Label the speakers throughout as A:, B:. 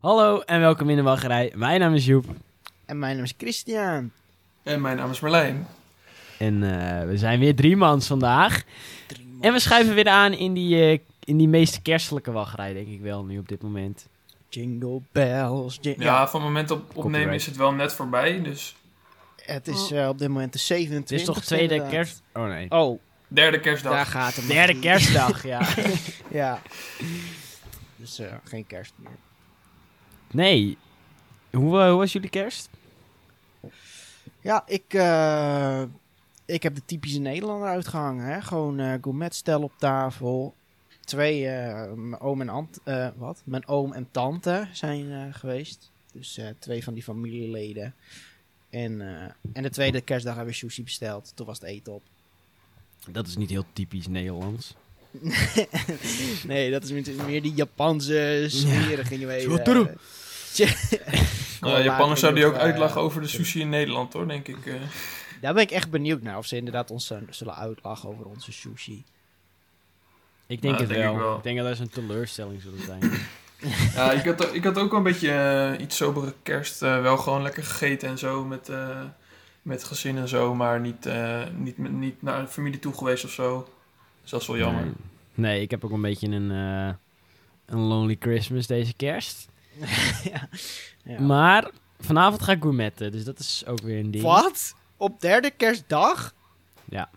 A: Hallo en welkom in de wachtrij. Mijn naam is Joep
B: En mijn naam is Christian.
C: En mijn naam is Marlijn.
A: en eh, we zijn weer drie mans vandaag.
B: Drie
A: En we schuiven weer aan in die, eh, in die meest kerstelijke wachtrij, denk ik wel, nu op dit moment.
B: Jingle bells. jing-
C: Ja, van het moment op opnemen
A: Copyright.
C: is het wel net voorbij. Dus
B: Het is eh, op dit moment de 27
A: Het is toch tweede
B: inderdaad.
A: kerst... Oh nee.
B: Oh,
C: derde kerstdag.
B: daar gaat het.
A: Derde kerstdag, ja.
B: Ja. Dus eh, geen kerst meer.
A: Nee. Hoe, eh, hoe was jullie kerst?
B: Ja, ik, eh, ik heb de typische Nederlander uitgehangen. Hè? Gewoon eh gourmetstel op tafel. Twee, eh, mijn oom en aunt, eh, wat? Mijn oom en tante zijn eh, geweest. Dus eh, twee van die familieleden. En, eh, en de tweede kerstdag hebben we sushi besteld. Toen was het eten op.
A: Dat is niet heel typisch Nederlands.
B: Nee, dat is meer- meer die Japanse smerige, je weet.
A: Zo
B: eh,
A: troep.
C: Nou, Japanners zouden die ook uitlachen over de sushi in Nederland hoor, denk ik. eh.
B: Daar ben ik echt benieuwd naar. Of ze inderdaad ons zullen- zullen uitlachen over onze sushi.
A: Ik denk
C: Nou,
A: het
C: dat denk
A: wel.
C: ik wel.
A: Ik denk dat dat een teleurstelling zullen zijn.
C: ja, ik, had, ik had ook wel een beetje eh, iets sobere kerst. eh, wel gewoon lekker gegeten en zo met, eh, met gezin en zo. Maar niet, eh, niet, niet naar de familie toe geweest of zo. Dus dat is wel jammer.
A: Nee. Nee, ik heb ook een beetje een, eh, een lonely Christmas deze kerst.
B: ja. Ja.
A: Maar vanavond ga ik gourmetten, dus dat is ook weer een ding.
B: Wat? Op derde kerstdag?
A: Ja.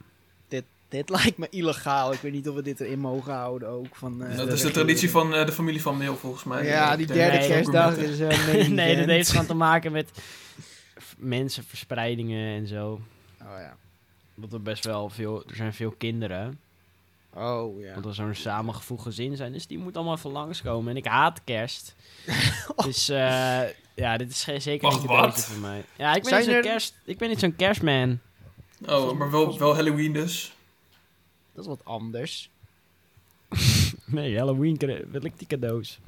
B: Dit, dit lijkt me illegaal. Ik weet niet of we dit erin mogen houden ook. Van, eh, de
C: dat is de
B: regering.
C: traditie van eh, de familie van Meel volgens mij.
B: Ja,
C: Ik
B: die
C: denk
B: derde
C: dat ze ook
B: kerstdag
C: gourmetten.
B: is eh main
A: nee, dat
B: event.
A: heeft gewoon te maken met f- mensen, verspreidingen en zo.
B: Oh ja.
A: Dat er best wel veel, er zijn veel kinderen.
B: Oh ja.
A: Want er zo'n samengevoegd gezin zijn, dus die moet allemaal even langskomen. En ik haat kerst. Dus eh, ja, dit is geen, zeker
C: Wacht,
A: geen cadeautje
C: wat?
A: voor mij. Ja, ik ben,
B: Zijn
A: niet zo'n
B: er-
A: kerst, ik ben niet zo'n kerstman.
C: Oh, maar wel, wel Halloween dus.
B: Dat is wat anders.
A: Nee, Halloween cade- wil ik die cadeaus.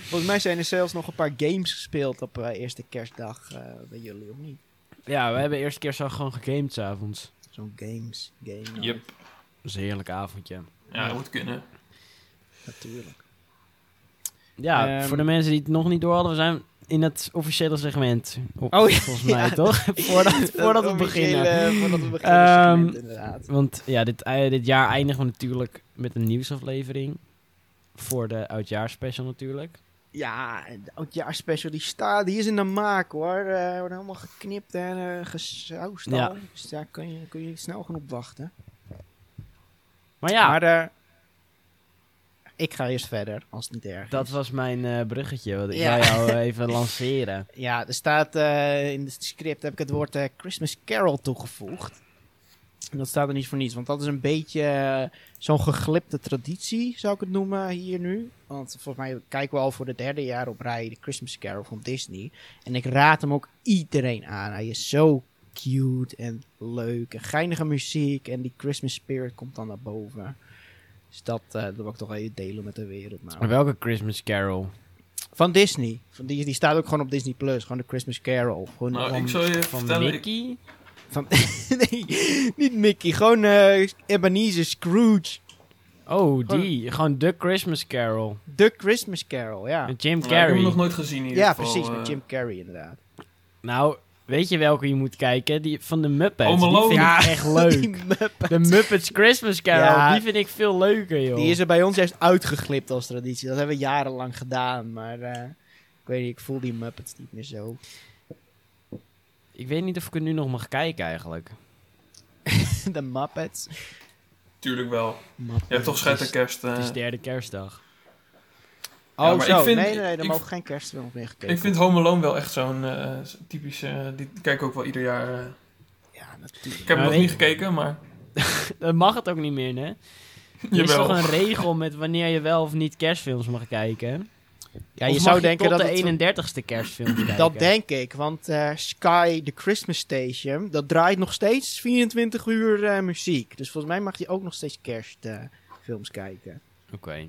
B: Volgens mij zijn er zelfs nog een paar games gespeeld op eh, eerste kerstdag eh, bij jullie, of niet?
A: Ja, we hebben eerst kerst al gewoon gegamed s'avonds.
B: Zo'n games. Game
C: Yep.
A: Dat was een heerlijk avondje.
C: Ja, dat moet kunnen.
B: Natuurlijk.
A: Ja,
B: Ehm,
A: voor de mensen die het nog niet door hadden, we zijn in het officiële segment. Op,
B: Oh, ja.
A: volgens mij, toch? voordat, voordat we beginnen.
B: Voordat we
A: Ehm,
B: beginnen, inderdaad.
A: Want ja, dit, ei- dit jaar eindigen we natuurlijk met een nieuwsaflevering. Voor de oudjaarspecial natuurlijk.
B: Ja, de oudjaarspecial die staat, die is in de maak hoor. Eh wordt helemaal geknipt en eh gesausd al.
A: Ja.
B: Dus daar kun je, kun je niet snel genoeg op wachten.
A: Maar ja,
B: Maar eh, ik ga eerst verder, als het niet erg
A: dat
B: is.
A: was mijn eh, bruggetje. Wat ik
B: Ja.
A: wou jou eh, even lanceren.
B: Ja, er staat eh, in het script heb ik het woord eh, Christmas Carol toegevoegd. En dat staat er niet voor niets, want dat is een beetje eh, zo'n geglipte traditie, zou ik het noemen hier nu. Want volgens mij kijken we al voor het derde jaar op rij de Christmas Carol van Disney. En ik raad hem ook iedereen aan. Hij is zo cute en leuk en geinige muziek en die Christmas spirit komt dan naar boven. Dus dat, eh, dat wil ik toch even delen met de wereld. Nou.
A: Maar welke Christmas Carol?
B: Van Disney. Van die, die staat ook gewoon op Disney Plus. Gewoon de Christmas Carol. Gewoon
C: Nou,
B: van,
C: ik zal je
A: Van
C: vertellen. ik-
A: Mickey?
B: van- nee, niet Mickey. Gewoon eh Ebenezer Scrooge.
A: Oh, die. Gewoon de Christmas Carol.
B: De Christmas Carol, ja.
A: Met Jim
C: Nou, ik heb hem
A: Carrey.
C: nog nooit gezien in ieder
B: Ja,
C: geval.
B: precies.
C: eh.
B: Met Jim Carrey inderdaad.
A: Nou, weet je welke je moet kijken? Die van de Muppets.
C: Oh,
A: die
C: Malone.
A: vind ik echt
B: Die,
A: leuk.
B: Muppet,
A: De Muppets Christmas Carol,
B: Ja.
A: die vind ik veel leuker, joh.
B: die is er bij ons juist uitgeglipt als traditie. Dat hebben we jarenlang gedaan. Maar eh, ik weet niet, ik voel die Muppets niet meer zo.
A: Ik weet niet of ik er nu nog mag kijken, eigenlijk.
B: de Muppets.
C: Tuurlijk wel.
B: Muppets.
C: Je hebt toch scheid aan kerst. eh.
A: Het is derde kerstdag.
B: Oh,
C: Ja, maar
B: zo.
C: ik vind-
B: nee, nee,
C: ik-
B: daar mogen geen kerstfilms meer gekeken
C: ik vind Home Alone wel echt zo'n eh, zo'n typische... eh, die kijk ik ook wel ieder jaar. eh.
B: worden. Ja, natuurlijk.
C: Ik
A: Maar
C: heb hem nog
A: weet-
C: niet gekeken, maar...
A: Dan mag het ook niet meer, hè? Er is toch
C: Jawel.
A: een regel met wanneer je wel of niet kerstfilms mag kijken?
B: Ja,
A: Of
B: je
A: mag
B: zou denken
A: tot
B: dat het
A: de 31ste kerstfilm kijken?
B: Dat denk ik, want eh, Sky, de Christmas Station, dat draait nog steeds 24 uur eh, muziek. Dus volgens mij mag je ook nog steeds kerstfilms kijken.
A: Oké,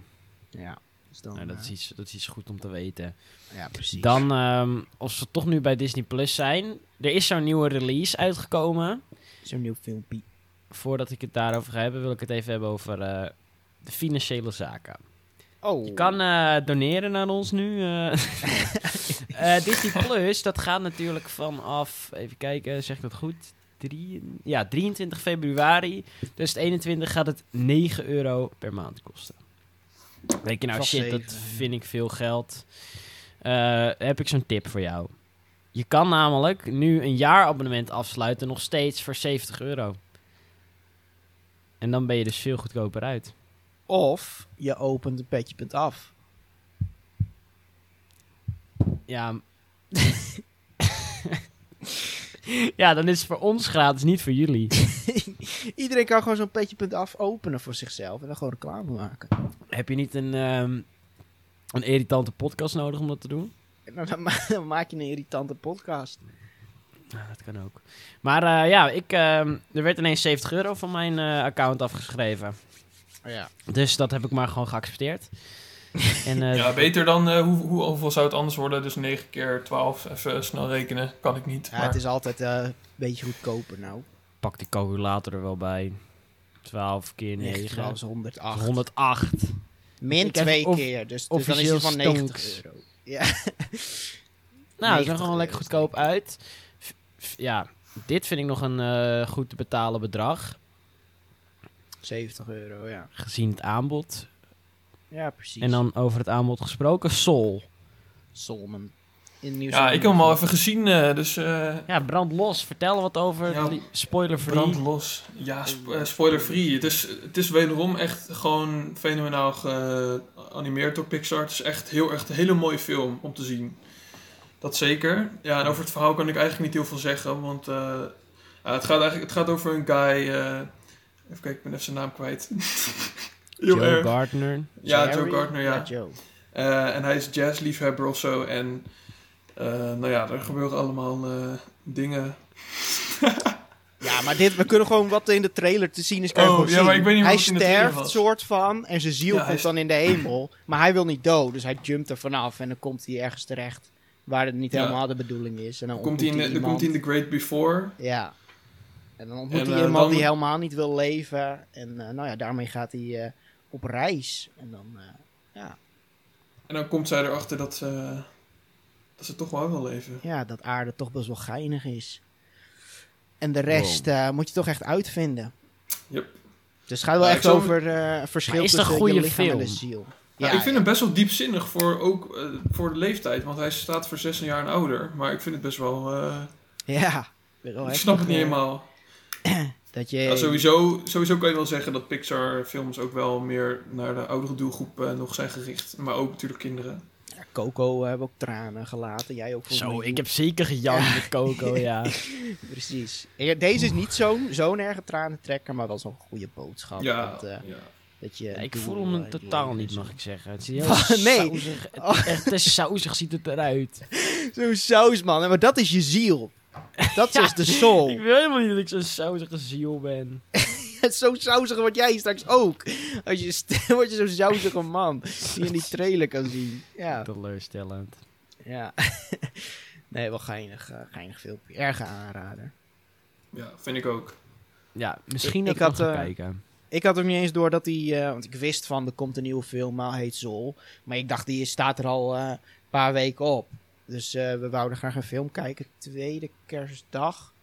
B: Ja, dus dan,
A: nou, dat, is
B: eh,
A: iets, dat is iets goed om te weten.
B: ja precies.
A: Dan, ehm, als we toch nu bij Disney Plus zijn... Er is zo'n nieuwe release uitgekomen.
B: Zo'n nieuw filmpje.
A: Voordat ik het daarover ga hebben, wil ik het even hebben over eh, de financiële zaken.
B: Oh.
A: Je kan eh, doneren naar ons nu. eh. Eh, Disney Plus, dat gaat natuurlijk vanaf, even kijken, zeg ik dat goed? Drie, ja, 23 februari 2021 gaat het 9 euro per maand kosten. Denk je nou,
B: Vast
A: shit, dat
B: zeven.
A: vind ik veel geld. Eh, heb ik zo'n tip voor jou. Je kan namelijk nu een jaarabonnement afsluiten, nog steeds voor 70 euro. En dan ben je dus veel goedkoper uit.
B: Of je opent een petje punt af.
A: Ja. ja, dan is het voor ons gratis, niet voor jullie.
B: Iedereen kan gewoon zo'n petje punt af openen voor zichzelf en dan gewoon reclame maken.
A: Heb je niet een, ehm, een irritante podcast nodig om dat te doen?
B: En dan, dan ma- dan maak je een irritante podcast.
A: Ja, Nou, dat kan ook. Maar eh, ja, ik, ehm, er werd ineens 70 euro van mijn eh, account afgeschreven.
B: Ja.
A: Dus dat heb ik maar gewoon geaccepteerd. en, eh,
C: Ja, beter dan eh, hoe, hoe, hoeveel zou het anders worden? Dus 9 keer 12, even snel rekenen. Kan ik niet. maar-
B: het is altijd eh, een beetje goedkoper nou.
A: Pak die calculator er wel bij. 12 keer
B: 9
A: 9.
B: is 108.
A: 108.
B: Min
A: Ik heb
B: 2
A: of-
B: keer, dus, dus dan is
A: officieel
B: het van
A: stonks.
B: 90 euro. Ja.
A: Nou, het is er
B: 90
A: gewoon lekker
B: euro,
A: goedkoop uit. F- f- Ja, dit vind ik nog een eh, goed te betalen bedrag.
B: 70 euro, ja.
A: Gezien het aanbod.
B: Ja, precies.
A: En dan over het aanbod gesproken, Sol.
B: Solmen. In nieuw
C: ja, ik heb hem al even gezien, eh, dus eh
A: Ja, brand los. Vertel wat over.
C: Ja,
A: die Spoiler
C: brand
A: free.
C: los. Ja, sp- eh, spoiler free. Het is, het is wederom echt gewoon fenomenaal geanimeerd door Pixar. Het is echt heel echt een hele mooie film om te zien. Dat zeker. Ja, en over het verhaal kan ik eigenlijk niet heel veel zeggen, want eh, ja, het, gaat eigenlijk, het gaat over een guy... eh, even kijken, ik ben even zijn naam kwijt. heel
A: Joe
C: erg.
A: Gardner.
C: Ja, Joe Gardner, ja.
B: Joe.
C: Eh, en hij is jazzliefhebber of zo. En eh, nou ja, er gebeuren allemaal eh, dingen.
B: Ja, maar dit, we kunnen gewoon wat in de trailer te zien is. Kan je
C: Oh,
B: gewoon
C: ja,
B: zien.
C: maar ik weet niet
B: hij
C: wat in de trailer
B: sterft,
C: was.
B: soort van, en zijn ziel
C: Ja, hij
B: komt
C: is-
B: dan in de hemel. Maar hij wil niet dood, dus hij jumpt er vanaf en dan komt hij ergens terecht waar het niet
C: Ja.
B: helemaal de bedoeling is. En dan
C: Dan komt hij in, de- dan komt hij in The Great Before.
B: de... Ja. En dan ontmoet
C: En,
B: hij
C: eh,
B: iemand
C: dan-
B: die helemaal niet wil leven. En eh, nou ja, daarmee gaat hij eh, op reis. En dan, eh,
C: En dan komt zij erachter dat ze, dat ze toch wel wil leven.
B: ja, dat aarde toch best wel geinig is. En de rest eh, moet je toch echt uitvinden.
C: Yep.
B: Dus het gaat wel
C: Maar ik
B: echt
C: zou-
B: over eh verschil
A: Maar is het een
B: tussen je
A: goede
B: lichaam en de
A: film?
B: ziel.
C: Ja, Nou, ik vind hem best wel diepzinnig voor, ook, eh, voor de leeftijd. Want hij staat voor 16 jaar en ouder. Maar ik vind het best wel... eh,
B: Ja. Wel
C: ik
B: heftig,
C: snap het niet
B: eh,
C: helemaal.
B: Dat je...
C: Ja, sowieso, sowieso kan je wel zeggen dat Pixar films ook wel meer naar de oudere doelgroep eh, nog zijn gericht. Maar ook natuurlijk kinderen.
B: Ja, eh, Coco hebben ook tranen gelaten. Jij ook. volgens
A: Zo,
B: mij.
A: ik heb zeker gejankt met Coco, ja.
B: Precies. Ja, Deze is niet zo'n zo'n erge tranentrekker, maar wel zo'n goede boodschap.
C: Ja,
B: Dat, eh,
C: ja.
B: dat je
A: Ja, ik
B: doel,
A: voel hem
B: eh,
A: totaal
B: leven
A: niet,
B: is.
A: mag ik zeggen. Het is heel
B: Wat? Nee. Oh,
A: sausig. Het- Echt te sausig ziet het eruit.
B: Zo'n saus, man. Maar dat is je ziel. Dat
A: Ja.
B: is dus de
C: Oh.
B: soul.
A: Ik wil helemaal niet dat ik zo'n sausige ziel ben.
B: Zo'n sausig word jij straks ook. Als je st- word je zo'n sausige man. Die je in die trailer kan zien. Ja.
A: Teleurstellend.
B: ja. Nee, wel geinig, eh, geinig filmpje. Erge aanrader.
C: ja, vind ik ook.
A: Ja, misschien
B: Ik-
A: dat
B: ik
A: ik, nog
B: had,
A: ga
B: eh,
A: kijken.
B: Ik had ook niet eens door dat hij... eh, want ik wist van, er komt een nieuwe film, maar hij heet Zol. Maar ik dacht, die staat er al eh, een paar weken op. Dus eh, we wouden graag een film kijken. Tweede kerstdag.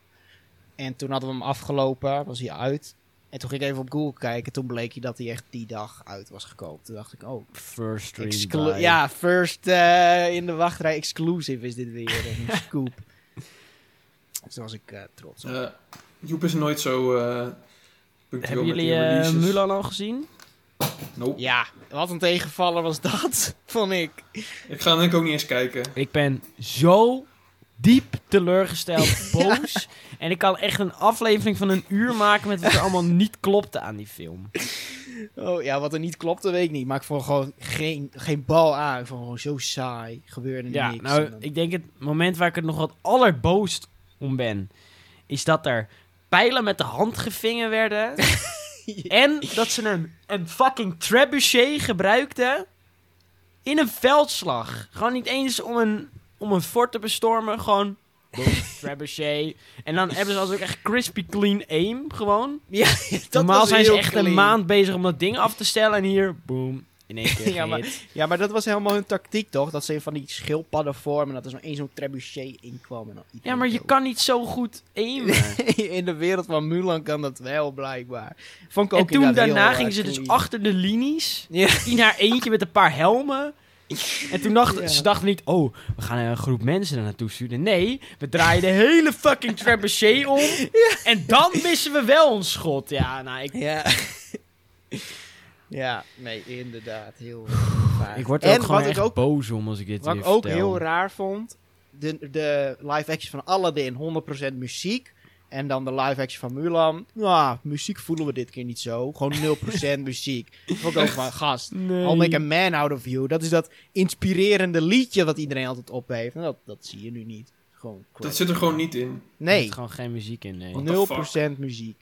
B: En toen hadden we hem afgelopen, was hij uit. En toen ging ik even op Google kijken. Toen bleek hij dat hij echt die dag uit was gekomen. Toen dacht ik, oh.
A: First stream
B: exclu-
A: by.
B: ja, first eh, in de wachtrij exclusive is dit weer. Een scoop. Dus daar was ik eh, trots op.
C: Eh, Joep is nooit zo eh punctueel
A: Hebben
C: met
A: jullie
C: die
A: eh,
C: releases.
A: Mulan al gezien?
C: Nope.
B: Ja, wat een tegenvaller was dat, vond ik.
C: Ik ga denk ik ook niet eens kijken.
A: Ik ben zo diep teleurgesteld, boos. En ik kan echt een aflevering van een uur maken met wat er allemaal niet klopte aan die film.
B: Oh ja, wat er niet klopte, weet ik niet. Maar ik vond gewoon geen, geen bal aan. Ik vond gewoon zo saai. Gebeurde
A: Ja,
B: niks.
A: nou,
B: En dan-
A: ik denk het moment waar ik het nog wat allerboost om ben, is dat er pijlen met de hand gevingen werden. en dat ze een, een fucking trebuchet gebruikten in een veldslag. Gewoon niet eens om een, om een fort te bestormen, gewoon boom, trebuchet. En dan hebben ze als ook echt crispy clean aim, gewoon.
B: Ja, dat
A: Normaal
B: was
A: zijn ze
B: heel
A: echt
B: clean.
A: een maand bezig om dat ding af te stellen en hier, boom, in één keer
B: Ja, maar-
A: gehit.
B: Ja, maar dat was helemaal hun tactiek toch? Dat ze van die schildpadden vormen. Dat er zo'n één zo'n trebuchet in kwam. En dan iedereen
A: Ja, maar je
B: dood.
A: kan niet zo goed aimen.
B: in de wereld van Mulan kan dat wel blijkbaar. Vond ik ook
A: En toen
B: inderdaad heel,
A: daarna
B: eh,
A: gingen ze dus
B: clean.
A: achter de linies.
B: Ja.
A: In haar eentje met een paar helmen. En toen dachten
B: Ja.
A: ze dachten niet, oh, we gaan een groep mensen daar naartoe sturen. Nee, we draaien de hele fucking trebuchet om. En dan missen we wel ons schot. Ja, nou, ik,
B: Ja. ja, nee, inderdaad. Heel eh, vaag.
A: ik word er
B: en
A: ook gewoon
B: wat
A: echt
B: ik ook,
A: boos om als ik dit
B: wat
A: weer
B: ik ook
A: vertel.
B: heel raar vond. De, de live action van Aladdin, 100% muziek. En dan de live action van Mulan. Nou, muziek voelen we dit keer niet zo. Gewoon 0% muziek. Vond ik ook van, gast.
A: Nee.
B: I'll Oh, make a man out of you. Dat is dat inspirerende liedje wat iedereen altijd op heeft. En dat, dat zie je nu niet. Gewoon crap.
C: Dat zit er gewoon niet in.
A: Er
B: Nee,
A: zit gewoon geen muziek in, nee.
C: the
B: 0% muziek.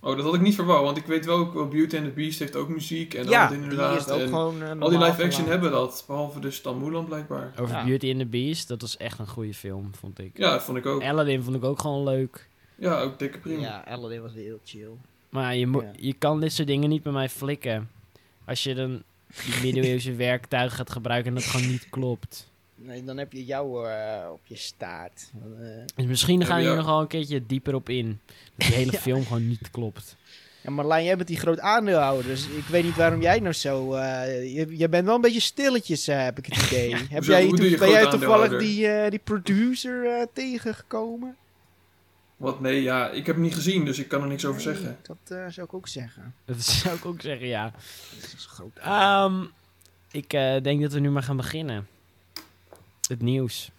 C: Oh, dat had ik niet verwacht, want ik weet wel ook, wel Beauty and the Beast heeft ook muziek en
B: Ja,
C: dat
B: die
C: inderdaad.
B: is ook
C: en
B: gewoon... eh,
C: al die
B: normaal
C: live action
B: gemaakt.
C: hebben dat, behalve dus dan Mulan blijkbaar.
A: Over
B: Ja.
A: Beauty and the Beast, dat was echt een goede film, vond ik.
C: Ja, dat vond ik ook.
A: Aladdin vond ik ook gewoon leuk.
C: Ja, ook dikke prima.
B: Ja, Aladdin was heel chill.
A: Maar je, moet-
B: Ja.
A: je kan dit soort dingen niet bij mij flikken. Als je dan die middeleeuwse werktuig gaat gebruiken en dat gewoon niet klopt.
B: Nee, dan heb je jou eh, op je staart. Eh,
A: Dus misschien
C: Ja,
A: gaan we
C: maar
A: hier
C: ja.
A: nog wel een keertje dieper op in. Dat die hele film gewoon niet klopt.
B: ja, Marlijn, jij bent die groot aandeelhouder. Dus ik weet niet waarom jij nou zo... eh, je, jij bent wel een beetje stilletjes, eh, heb ik het idee. heb
C: Hoezo-
B: jij,
C: hoe doe je
B: ben jij
C: groot
B: toevallig
C: aandeelhouder?
B: die, eh, die producer eh, tegengekomen?
C: Wat nee, ja, ik heb hem niet gezien, dus ik kan er niks over
B: Nee,
C: zeggen.
B: Dat eh, zou ik ook zeggen.
A: Dat zou ik ook zeggen, ja.
B: Dat is een groot
A: Ehm, ik eh, denk dat we nu maar gaan beginnen. Het nieuws.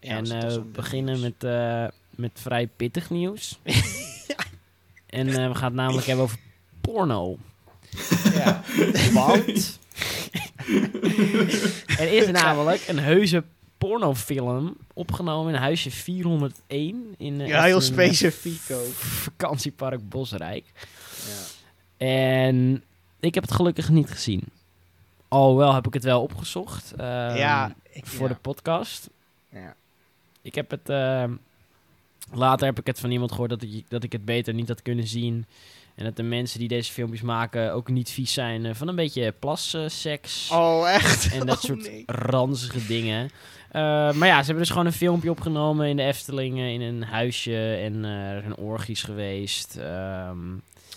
B: Ja,
A: en
B: dat is-
A: eh,
B: dat is
A: we
B: een-
A: beginnen met, eh, met vrij pittig nieuws. En eh, we gaan het namelijk hebben over porno.
B: Ja.
A: Want er is namelijk een heuse pornofilm opgenomen in huisje 401. In, eh,
B: ja, heel
A: echt een, eh,
B: specifiek ook.
A: Vakantiepark Bosrijk.
B: Ja.
A: En ik heb het gelukkig niet gezien. Alhoewel heb ik het wel opgezocht. ehm,
B: ja, ik,
A: Voor
B: ja.
A: de podcast.
B: Ja.
A: Ik heb het... ehm, later heb ik het van iemand gehoord dat ik, dat ik het beter niet had kunnen zien. En dat de mensen die deze filmpjes maken ook niet vies zijn eh, van een beetje eh, plasseks.
B: Oh, echt?
A: En dat
B: Oh,
A: soort
B: nee.
A: ranzige dingen. Eh, maar ja, ze hebben dus gewoon een filmpje opgenomen in de Efteling, eh, in een huisje. En eh, er zijn orgies geweest. Ehm,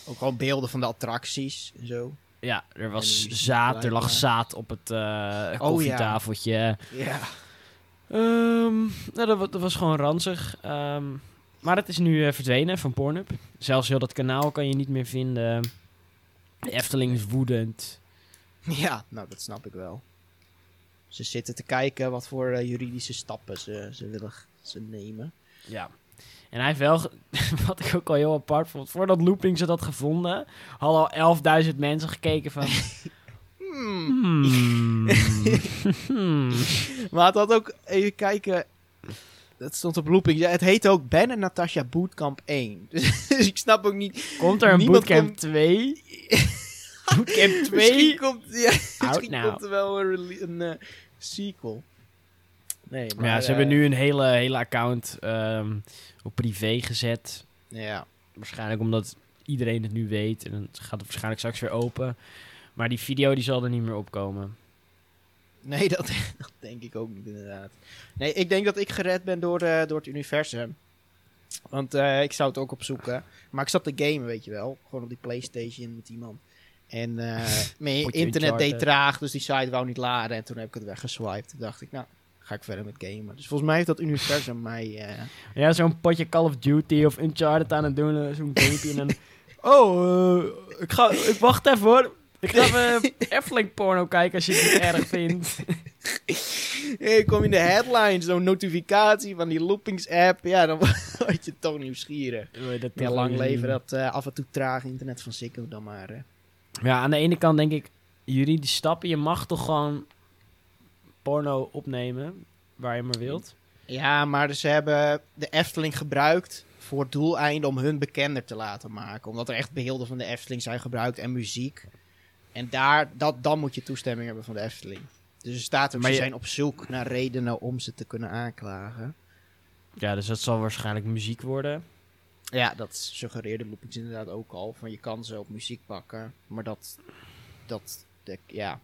B: Ook gewoon beelden van de attracties en zo.
A: ja, er,
B: En
A: was
B: die
A: zaad, er lag
B: blijkbaar. Oh,
A: zaad op het eh koffietafeltje.
B: Ja.
A: Ehm, nou, dat, wa- dat was gewoon ranzig. Ehm, maar het is nu eh, verdwenen van Pornhub. Zelfs heel dat kanaal kan je niet meer vinden. De Efteling is woedend.
B: Ja, nou dat snap ik wel. Ze zitten te kijken wat voor eh, juridische stappen ze, ze willen g- ze nemen.
A: Ja. En hij heeft wel, ge- wat ik ook al heel apart vond, voordat Looping ze dat gevonden, hadden al 11.000 mensen gekeken van... hmm, hmm.
B: Maar het had ook, even kijken, dat stond op looping. Ja, het heet ook Ben en Natasha Bootcamp 1. Dus, ik snap ook niet.
A: Komt er een
B: Niemand
A: Bootcamp
B: komt-
A: 2? bootcamp 2?
B: Misschien komt, ja, misschien
A: nou.
B: komt er wel een, rele- een eh, sequel. Nee, maar...
A: Ja, ze
B: eh,
A: hebben nu een hele, hele account ehm, op privé gezet.
B: Ja,
A: Waarschijnlijk omdat iedereen het nu weet. En dan gaat het waarschijnlijk straks weer open. Maar die video die zal er niet meer opkomen.
B: nee, dat, dat denk ik ook niet inderdaad. Nee, ik denk dat ik gered ben door, eh, door het universum. Want eh, ik zou het ook opzoeken. Maar ik zat te gamen, weet je wel. Gewoon op die Playstation met iemand. En eh, mijn
A: Potje
B: internet deed
A: Uncharted.
B: traag, dus die site wou niet laden. En toen heb ik het weggeswiped. Toen dacht ik, nou, ga ik verder met gamen. Dus volgens mij heeft dat universum mij... eh,
A: Ja, zo'n potje Call of Duty of Uncharted aan het doen. eh, Zo'n gamepje en dan... Oh, eh, ik, ga, ik wacht even hoor. Ik ga even Efteling porno kijken als je het niet erg vindt.
B: ik kom in de headlines, zo'n notificatie van die loopings-app. Ja, dan word je toch nieuwsgierig.
A: Wil je dat
B: Ja,
A: toch
B: lang
A: weer zien?
B: leven dat eh, af en toe traag internet van Ziggo dan maar. eh.
A: Ja, aan de ene kant denk ik... Juridisch stappen. Je mag toch gewoon porno opnemen. Waar je maar wilt.
B: Ja, maar dus ze hebben de Efteling gebruikt voor het doeleinde om hun bekender te laten maken. Omdat er echt beelden van de Efteling zijn gebruikt en muziek. En daar, dat, dan moet je toestemming hebben van de Efteling. Dus er staat er,
A: Maar
B: ze
A: je-
B: zijn op zoek naar redenen om ze te kunnen aanklagen.
A: Ja, dus dat zal waarschijnlijk muziek worden.
B: Ja, dat suggereerde Loopings inderdaad ook al. Van je kan ze op muziek pakken. Maar dat, dat de- ja,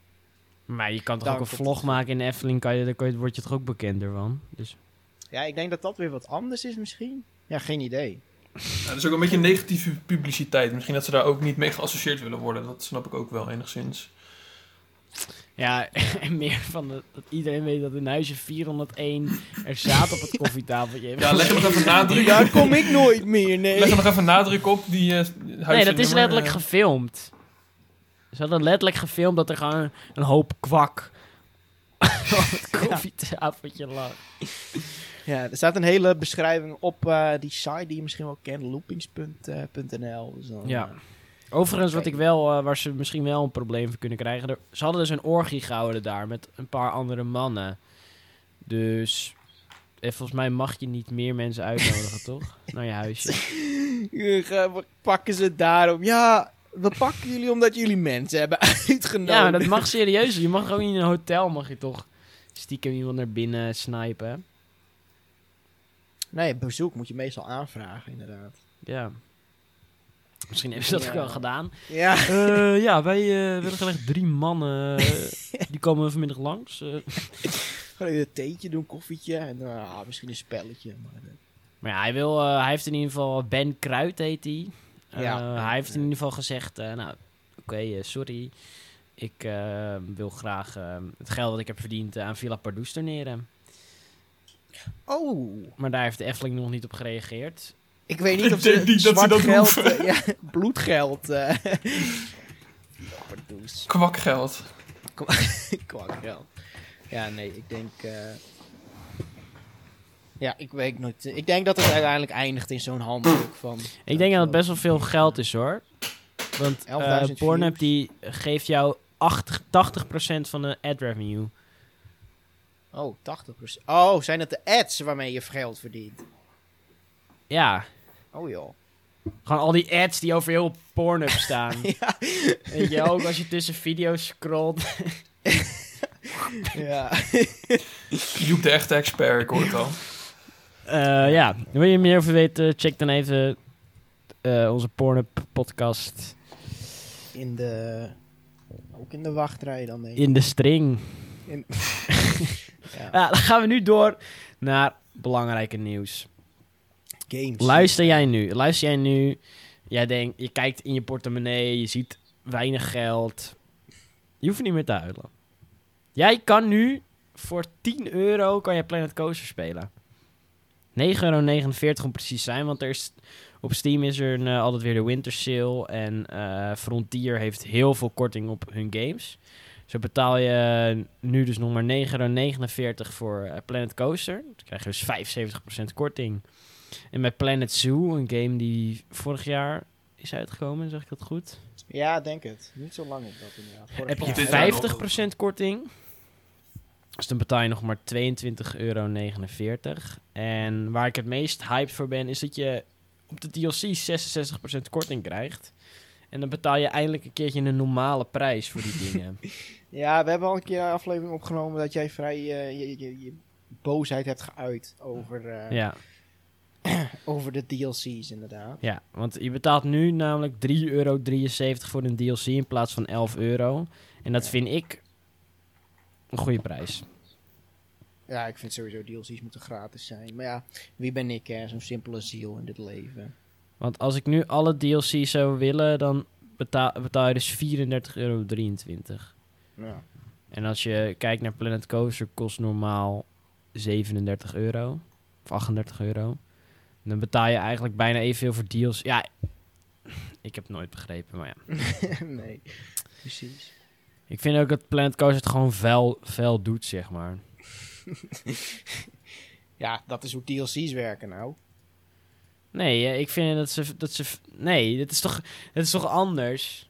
A: Maar je kan toch
B: Daar
A: ook een
B: komt het
A: vlog maken in de Efteling, kan je, dan kan je, word je toch ook bekender van. Dus
B: Ja, ik denk dat dat weer wat anders is misschien. Ja, geen idee.
C: Ja, dat is ook een beetje negatieve publiciteit. Misschien dat ze daar ook niet mee geassocieerd willen worden. Dat snap ik ook wel enigszins.
A: ja, en meer van de- dat iedereen weet dat in huisje 401 er zaad op het koffietafeltje.
C: Ja, leg er nog even nadruk,
B: Daar kom ik nooit meer, nee.
C: leg er nog even nadruk op. Die, eh,
A: Nee,
C: huisnummer,
A: dat is letterlijk
C: eh.
A: gefilmd. Ze hadden letterlijk gefilmd dat er gewoon een hoop kwak op het koffietafeltje lag.
B: Ja, er staat een hele beschrijving op eh, die site die je misschien wel kent, loopings.nl. Dus dan,
A: Ja.
B: eh,
A: Overigens, wat
B: Oké.
A: ik wel, eh, waar ze misschien wel een probleem van kunnen krijgen. er- ze hadden dus een orgie gehouden daar met een paar andere mannen. Dus. eh, volgens mij mag je niet meer mensen uitnodigen, toch? Naar je huisje.
B: hier, eh, we pakken ze daarom. Ja, we pakken jullie omdat jullie mensen hebben uitgenodigd.
A: Ja, maar dat mag serieus. Je mag ook niet in een hotel, mag je toch stiekem iemand naar binnen snipen.
B: Nee, bezoek moet je meestal aanvragen, inderdaad.
A: Ja. Misschien hebben ze dat ook
B: Ja.
A: wel gedaan.
B: Ja,
A: Eh, ja, wij eh, willen graag drie mannen. eh, die komen vanmiddag langs. eh.
B: gewoon even een theetje doen, koffietje en dan, ah, misschien een spelletje. Maar, eh,
A: Maar ja, hij, wil, eh, hij heeft in ieder geval... Ben Kruid heet hij. Eh,
B: Ja.
A: hij heeft in ieder geval gezegd... eh, nou, oké, eh, sorry. Ik eh, wil graag eh, het geld wat ik heb verdiend eh, aan Villa Pardoes doneren.
B: oh,
A: Maar daar heeft de Efteling nog niet op gereageerd.
B: ik weet
C: Ik
B: niet of ze
C: denk niet dat ze
B: zwart
C: dat
B: geld,
C: hoeven.
B: eh, ja, bloedgeld. eh Verdoes.
C: Kwakgeld.
B: Kwakgeld. Ja, nee, ik denk. eh, Ja, ik weet nooit. eh, Ik denk dat het uiteindelijk eindigt in zo'n handdoek van. eh,
A: Ik denk dat het best wel veel geld is, hoor. Want eh
B: 11.000
A: Pornhub
B: views.
A: die geeft jou 80, 80% van de ad revenue.
B: Oh, 80%. Oh, zijn het de ads waarmee je geld verdient?
A: Ja,
B: Oh joh.
A: Gewoon al die ads die over heel Pornhub staan. Weet je, ook als je tussen video's scrolt.
B: Ja.
C: Joep de echte expert, ik hoor het al.
A: Eh, ja, wil je meer over weten? Check dan even eh, onze Pornhub podcast
B: In de. Ook in de wachtrij dan, denk ik.
A: in Eh, de string.
B: Ja.
A: Ja, dan gaan we nu door naar belangrijke nieuws.
B: Games.
A: Luister jij nu? Luister jij nu? Jij denkt, je kijkt in je portemonnee, je ziet weinig geld. Je hoeft niet meer te huilen. Jij kan nu voor 10 euro kan je Planet Coaster spelen. 9,49 euro om precies te zijn, want er is, op Steam is er een, eh, altijd weer de winter sale. En eh, Frontier heeft heel veel korting op hun games. Zo betaal je nu dus nog maar 9,49 euro voor eh, Planet Coaster. Dan krijg je dus 75% korting. En met Planet Zoo, een game die vorig jaar is uitgekomen, zeg ik dat goed?
B: Ja, denk het. Niet zo lang op dat inderdaad. Vorig
A: heb
B: jaar.
C: dit
A: je
C: jaar
A: 50% korting. Dus dan betaal je nog maar 22,49 euro. En waar ik het meest hyped voor ben, is dat je op de DLC 66% korting krijgt. En dan betaal je eindelijk een keertje een normale prijs voor die dingen.
B: Ja, we hebben al een keer een aflevering opgenomen dat jij vrij eh, je, je, je boosheid hebt geuit over, eh,
A: ja,
B: over de DLC's inderdaad.
A: ja, want je betaalt nu namelijk 3,73 euro voor een DLC in plaats van 11 euro. En dat vind ik een goede prijs.
B: Ja, ik vind sowieso DLC's moeten gratis zijn. Maar ja, wie ben ik hè? Zo'n simpele ziel in dit leven.
A: Want als ik nu alle DLC zou willen, dan betaal, betaal je dus 34,23 euro.
B: Ja.
A: En als je kijkt naar Planet Coaster, kost normaal 37 euro. Of 38 euro. Dan betaal je eigenlijk bijna evenveel voor DLC. Ja, ik heb het nooit begrepen, maar ja.
B: nee, precies.
A: Ik vind ook dat Planet Coaster het gewoon vuil, vuil doet, zeg maar.
B: Ja, dat is hoe DLC's werken nou.
A: Nee, eh, ik vind dat ze... Dat ze nee, dit is toch, dit is toch anders?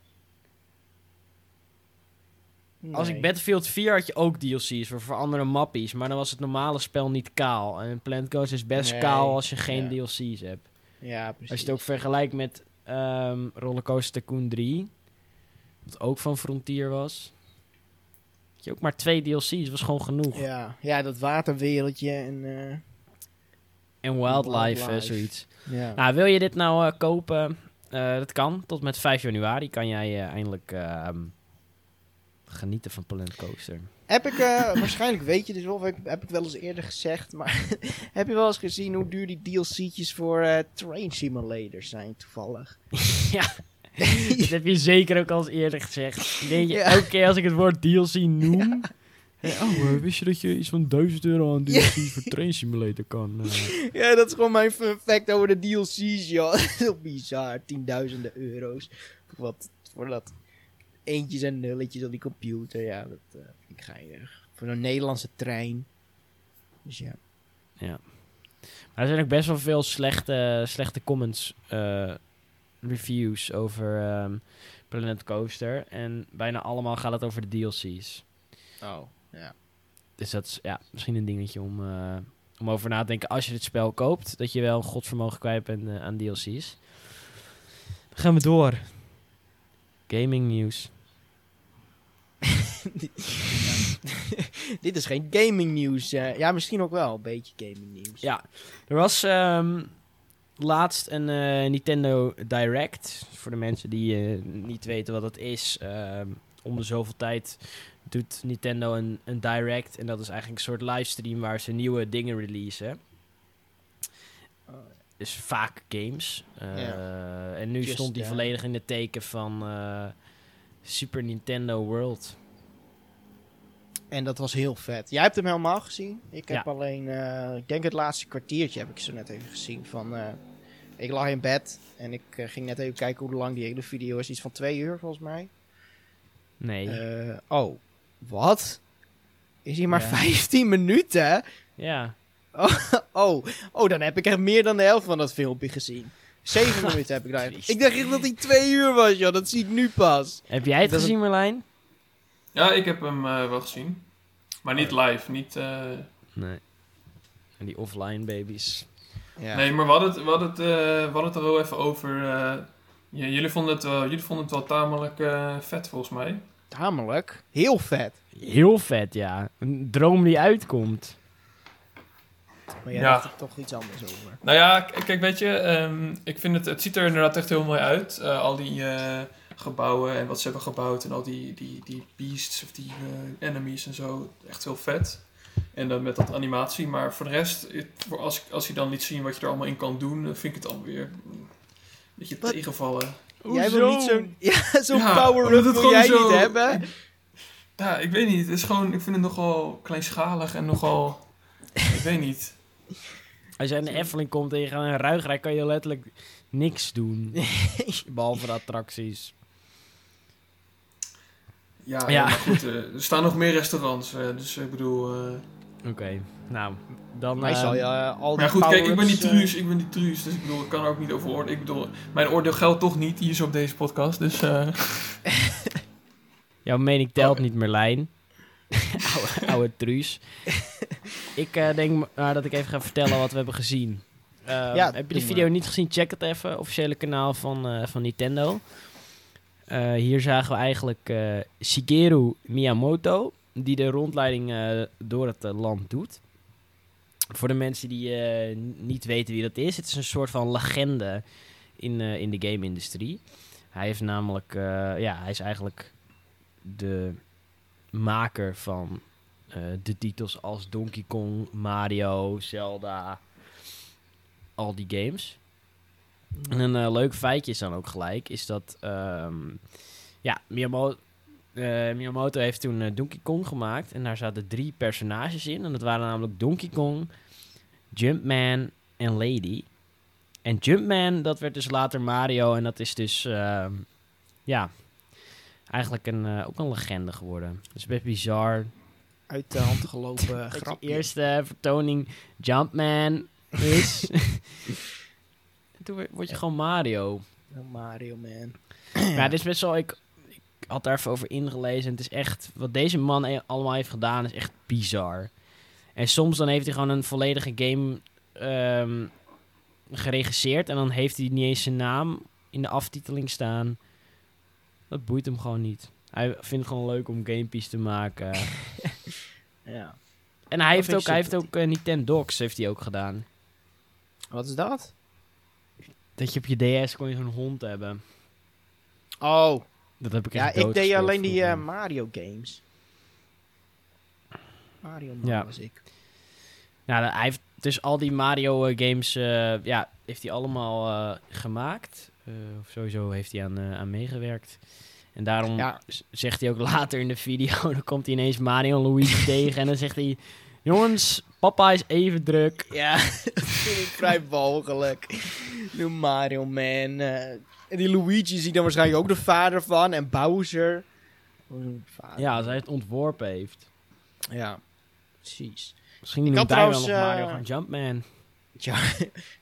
A: Als
B: Nee.
A: ik Battlefield 4 had je ook DLC's voor, voor andere mappies, maar dan was het normale spel niet kaal. En Planet Coaster is best
B: Nee,
A: kaal als je geen
B: ja.
A: DLC's hebt.
B: Ja, precies.
A: Als je het ook vergelijkt met ehm Rollercoaster Tycoon 3, wat ook van Frontier was. Had je ook maar twee DLC's, was gewoon genoeg.
B: ja. ja, dat waterwereldje en... eh,
A: En Wildlife,
B: Wildlife.
A: eh, zoiets.
B: ja.
A: Nou, wil je dit nou eh, kopen? Eh, dat kan. Tot met 5 januari kan jij eh, eindelijk ehm, Genieten van Planet Coaster.
B: Heb ik, eh, waarschijnlijk weet je dus wel, of ik, heb ik wel eens eerder gezegd, maar heb je wel eens gezien hoe duur die DLC'tjes voor eh, Train Simulator zijn toevallig?
A: Dat heb je zeker ook al eens eerder gezegd. Denk je,
B: Ja.
A: elke keer als ik het woord DLC noem... eh, Oh, eh, wist je dat je iets van 1000 euro aan DLC voor Train Simulator kan? eh,
B: ja, dat is gewoon mijn fun fact over de DLC's, joh. Heel bizar, tienduizenden euro's. Wat voor dat eentjes en nulletjes op die computer, ja, dat eh, vind ik geinig. Voor een Nederlandse trein. Dus ja.
A: Maar er zijn ook best wel veel slechte, slechte comments, eh, reviews over ehm, Planet Coaster. En bijna allemaal gaat het over de DLC's.
B: Oh, ja.
A: Dus dat is ja, misschien een dingetje om, eh, om over na te denken als je dit spel koopt. Dat je wel godsvermogen kwijt bent eh, aan DLC's. Dan gaan we door. Gaming nieuws.
B: Dit is geen gaming nieuws. eh, ja, misschien ook wel een beetje gaming nieuws.
A: Ja, er was ehm, laatst een eh, Nintendo Direct. Voor de mensen die eh, niet weten wat dat is. ehm, om de zoveel tijd doet Nintendo een, een Direct. En dat is eigenlijk een soort livestream waar ze nieuwe dingen releasen. Dus vaak games. Eh, En nu
B: Just
A: stond die
B: Dance.
A: volledig in het teken van eh, Super Nintendo World.
B: En dat was heel vet. Jij hebt hem helemaal gezien. Ik heb
A: Ja.
B: alleen, eh, ik denk het laatste kwartiertje heb ik zo net even gezien. Van, eh, ik lag in bed en ik eh, ging net even kijken hoe lang die hele video is. Iets van twee uur volgens mij.
A: Nee.
B: Eh, oh, wat? Is hier maar
A: Ja.
B: 15 minuten?
A: ja.
B: Oh, oh, dan heb ik echt meer dan de helft van dat filmpje gezien. Zeven minuten heb ik daar.
A: Triest.
B: Ik dacht echt dat die twee uur was, joh. Dat zie ik nu pas.
A: Heb jij het
B: Dat is-
A: gezien, Merlijn?
C: Ja, ik heb hem eh, wel gezien. Maar niet
B: Oh.
C: live. Niet, eh,
A: Nee. En die offline babies.
B: Ja.
C: Nee, maar we hadden het, we hadden het, eh, we hadden het er wel even over. eh, ja, jullie, vonden het wel, jullie vonden het wel tamelijk eh, vet volgens mij.
B: Tamelijk. Heel vet.
A: Heel vet, ja. Een droom die uitkomt.
B: Maar jij
C: Ja.
B: dacht er toch iets anders over.
C: Nou ja, k- kijk, weet je, ehm, ik vind het, het ziet er inderdaad echt heel mooi uit. Eh, al die eh, gebouwen en wat ze hebben gebouwd en al die, die, die beasts of die eh, enemies en zo. Echt heel vet. En dan met dat animatie. Maar voor de rest, het- voor als, ik- als je dan liet zien wat je er allemaal in kan doen, dan vind ik het alweer mm, een beetje
B: Wat?
C: tegenvallen.
B: Jij wil niet zo'n ja, zo'n
C: Ja,
B: power-up
C: omdat het
B: wil
C: gewoon
B: jij
C: zo-
B: niet hebben.
C: Ja, ik weet niet. Het is gewoon, ik vind het nogal kleinschalig en nogal. ik weet niet.
A: Als jij in de Efteling komt en je gaat naar een ruigrijk, kan je letterlijk niks doen. Behalve de attracties.
C: Ja,
A: Ja.
C: ja, maar goed. eh, er staan nog meer restaurants. eh, dus ik bedoel. eh,
A: Oké, nou, dan...
B: Hij
A: eh,
B: zal je eh, al die
C: Maar goed, kijk, ik ben
B: power-ups,
C: niet
B: eh,
C: truus. Ik ben niet truus. Dus ik bedoel, ik kan er ook niet over oordelen. Ik bedoel, mijn oordeel geldt toch niet hier zo op deze podcast. Dus. eh,
A: Jouw mening
B: Oh.
A: telt niet, Merlijn. oude, oude truus. ik eh, denk maar dat ik even ga vertellen wat we hebben gezien. Ehm,
B: Ja,
A: heb je
B: doe
A: de video niet gezien? Check het even. Officiële kanaal van, eh, van Nintendo. Eh, hier zagen we eigenlijk eh, Shigeru Miyamoto, die de rondleiding eh, door het eh, land doet. Voor de mensen die eh, n- niet weten wie dat is, het is een soort van legende in, eh, in de game-industrie. Hij heeft namelijk, eh, ja, hij is eigenlijk de maker van eh, de titels als Donkey Kong, Mario, Zelda, al die games. En een eh, leuk feitje is dan ook gelijk, is dat ehm, ja, Miyamoto, Miyamoto heeft toen eh, Donkey Kong gemaakt en daar zaten drie personages in. En dat waren namelijk Donkey Kong, Jumpman en Lady. En Jumpman, dat werd dus later Mario en dat is dus, ehm, ja, eigenlijk een, eh, ook een legende geworden. Dat is best bizar
B: eh, Uit de hand gelopen
A: dat
B: grapje.
A: je eerste eh, vertoning Jumpman is. En Toen werd- word je gewoon Mario.
B: Oh, Mario, man.
A: Maar ja, dit is best wel... Ik, ik had daar even over ingelezen. En het is echt... Wat deze man e- allemaal heeft gedaan is echt bizar. En soms dan heeft hij gewoon een volledige game ehm, geregisseerd. En dan heeft hij niet eens zijn naam in de aftiteling staan. Dat boeit hem gewoon niet. Hij vindt het gewoon leuk om gamepies te maken.
B: Ja.
A: En hij heeft
B: vind
A: ook,
B: ik
A: hij heeft
B: super.
A: ook eh, Nintendogs heeft hij ook gedaan.
B: Wat is dat?
A: Dat je op je DS kon je zo'n hond hebben.
B: Oh,
A: Dat heb ik echt
B: Ja, ik deed
A: doodgespeeld
B: alleen die eh,
A: vroeger.
B: Mario games. Mario man
A: Ja.
B: was ik.
A: Ja, dan- hij heeft dus al die Mario eh, games, eh, ja, heeft hij allemaal eh, gemaakt. Eh, of sowieso heeft hij aan, eh, aan meegewerkt. En daarom
B: Ja.
A: z- zegt hij ook later in de video, dan komt hij ineens Mario en Luigi tegen. En dan zegt hij, jongens, papa is even druk.
B: Ja, dat vind ik vrij walgelijk. Nu Mario Man. eh, en die Luigi zie ik dan waarschijnlijk ook de vader van. En Bowser. Ook een vader.
A: Ja, als hij het ontworpen heeft.
B: ja, precies.
A: Misschien noemt hij
B: had
A: wel
B: trouwens,
A: nog Mario
B: eh,
A: gewoon Jumpman.
B: Ja,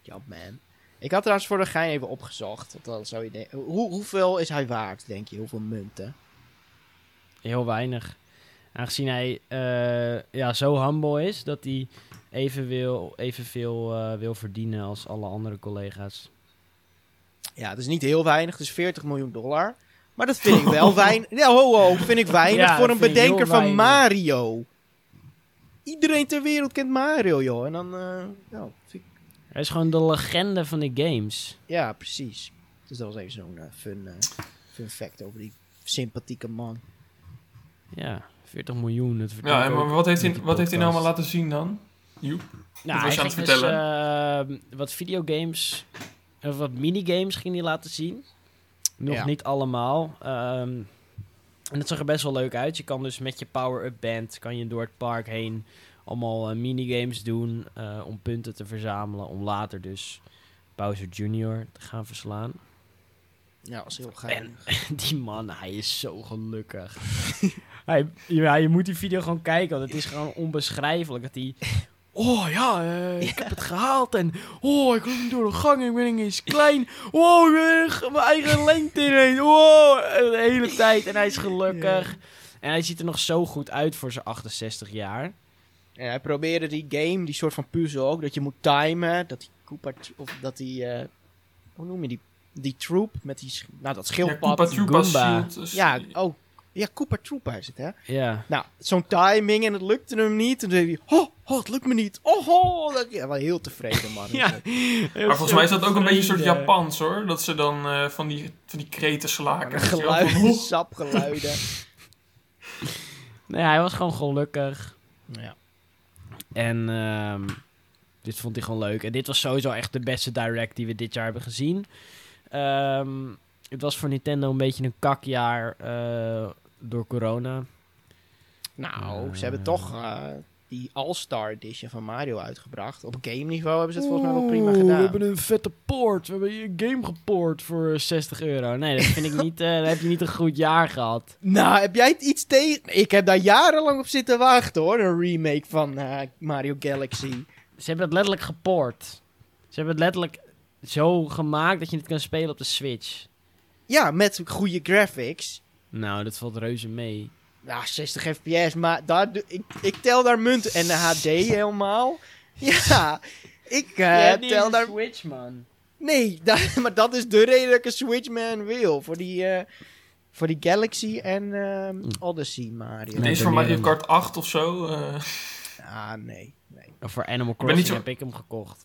B: ja, man. Ik had trouwens voor de gein even opgezocht. Want dan zou je denken, hoe, hoeveel is hij waard, denk je? Hoeveel munten?
A: Heel weinig. Aangezien hij eh, ja, zo humble is dat hij even wil, evenveel eh, wil verdienen als alle andere collega's.
B: Ja, het is niet heel weinig. Het is 40 miljoen dollar. Maar dat vind ik wel weinig. Ja, ho, ho. Vind ik weinig
A: Ja,
B: voor een
A: dat vind ik
B: bedenker
A: heel weinig.
B: van Mario. Iedereen ter wereld kent Mario, joh. En dan, eh, nou, vind ik-
A: Hij is gewoon de legende van de games.
B: ja, precies. Dus dat was even zo'n eh, fun, eh, fun fact over die sympathieke man.
A: Ja, 40 miljoen. Het vertelt
C: Ja, en maar
A: ook
C: wat heeft
A: met
C: hij,
A: die
C: wat heeft hij nou
A: podcast.
C: allemaal laten zien dan? Joep.
A: Nou,
C: was
A: hij
C: je aan het
A: ging Dus, eh, wat videogames, of wat minigames ging hij laten zien. Nog
B: Ja.
A: niet allemaal. Ehm, en dat zag er best wel leuk uit. Je kan dus met je power-up band, kan je door het park heen allemaal eh, minigames doen eh, om punten te verzamelen. Om later dus Bowser Jr. te gaan verslaan.
B: Ja, dat was heel geinig.
A: Die man, hij is zo gelukkig. hij, ja, je moet die video gewoon kijken, want het is gewoon onbeschrijfelijk. Dat hij... Oh ja, eh, ik heb het gehaald en... Oh, ik loop door de gang en ik ben ineens klein. Oh, ik ben er- mijn eigen lengte ineens. Oh, de hele tijd. En hij is gelukkig. En hij ziet er nog zo goed uit voor zijn 68 jaar.
B: En hij probeerde die game, die soort van puzzel ook, dat je moet timen, dat die Koopa, tr- of dat die, eh, hoe noem je die, die troep met die, sch- nou dat
C: Ja,
B: schildpad.
C: Koopa Troopa
A: Goomba.
C: Shield. Dus-
B: Ja, oh, ja, Koopa Troopa is het, hè?
A: Ja.
B: Nou, zo'n timing en het lukte hem niet. En toen zei hij, oh, oh, het lukt me niet. Oh, oh. Dat, ja, wel heel tevreden, man.
C: Maar volgens mij is dat ook een beetje een soort Japans hoor. Dat ze dan eh, van, die, van die kreten slaken. weet je wel, van,
B: Geluiden,
C: "Hoe?"
B: sapgeluiden.
A: Nee, hij was gewoon gelukkig.
B: ja.
A: En ehm, dit vond ik gewoon leuk. En dit was sowieso echt de beste direct die we dit jaar hebben gezien. Ehm, het was voor Nintendo een beetje een kakjaar eh, door corona.
B: Dus Nou,
A: Eh.
B: ze hebben toch eh, die All-Star Edition van Mario uitgebracht. Op game niveau hebben ze het volgens mij wel prima
A: Oh, We
B: gedaan.
A: hebben een vette poort. We hebben een game gepoord voor eh, 60 euro. Nee, dat vind ik niet. eh, dan heb je niet een goed jaar gehad.
B: Nou, heb jij het iets tegen? Ik heb daar jarenlang op zitten wachten hoor, een remake van eh, Mario Galaxy.
A: Ze hebben het letterlijk gepoord. Ze hebben het letterlijk zo gemaakt dat je het kan spelen op de Switch.
B: Ja, met goede graphics.
A: Nou, dat valt reuze mee.
B: Nou, 60 fps, maar daar, doe- ik, ik tel daar munten. En de HD helemaal. Ja, ik eh, tel daar...
A: Switch, man.
B: Nee, da- maar dat is de reden dat ik een Switchman wil. Voor die, eh, voor die Galaxy en ehm, Odyssey Mario.
A: Nee,
C: Deze voor
A: ik ben
C: Mario
A: meer een-
C: Kart 8 of zo. eh.
B: Ah, nee. nee.
A: Voor Animal
C: ben niet
A: Crossing
C: zo-
A: heb ik hem gekocht.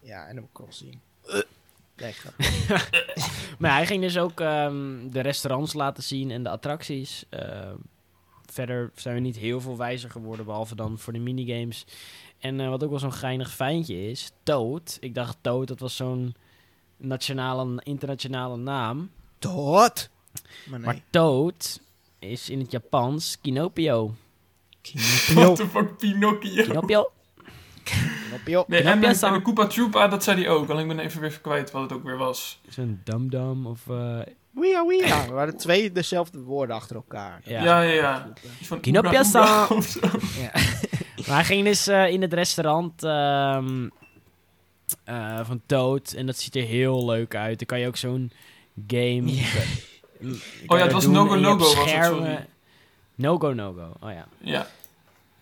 B: Ja, en ook Crossing. Nee, grap.
A: Maar hij ging dus ook ehm, de restaurants laten zien en de attracties. Ehm, verder zijn we niet heel veel wijzer geworden, behalve dan voor de minigames. En eh, wat ook wel zo'n geinig fijntje is, Toad. Ik dacht Toad, dat was zo'n nationale, internationale naam.
B: Tot. Maar nee.
A: Maar Toad is in het Japans Kinopio.
C: What the fuck, Pinocchio.
A: Kinopio?
B: Knoppie op.
C: Nee, en, en,
A: Pinocchio-san.
C: de Koopa Troopa, dat zei hij ook. Alleen ik ben even weer kwijt wat het ook weer was.
A: Zo'n damdam of... eh,
B: Wea, wea. Er waren twee dezelfde woorden achter elkaar.
A: ja.
C: Ja, ja, ja. Iets van Oebra
A: Kinopia-san.
C: Oebra of zo.
A: Maar hij ging dus eh, in het restaurant ehm, eh, van Toad. En dat ziet er heel leuk uit. Dan kan je ook zo'n game...
B: Ja.
A: kan
C: Oh ja,
A: je
C: het was
A: doen
C: No Go
A: en je
C: No
A: hebt
C: Go was het,
A: schermen.
C: sorry.
A: No Go No Go, oh ja.
C: Ja,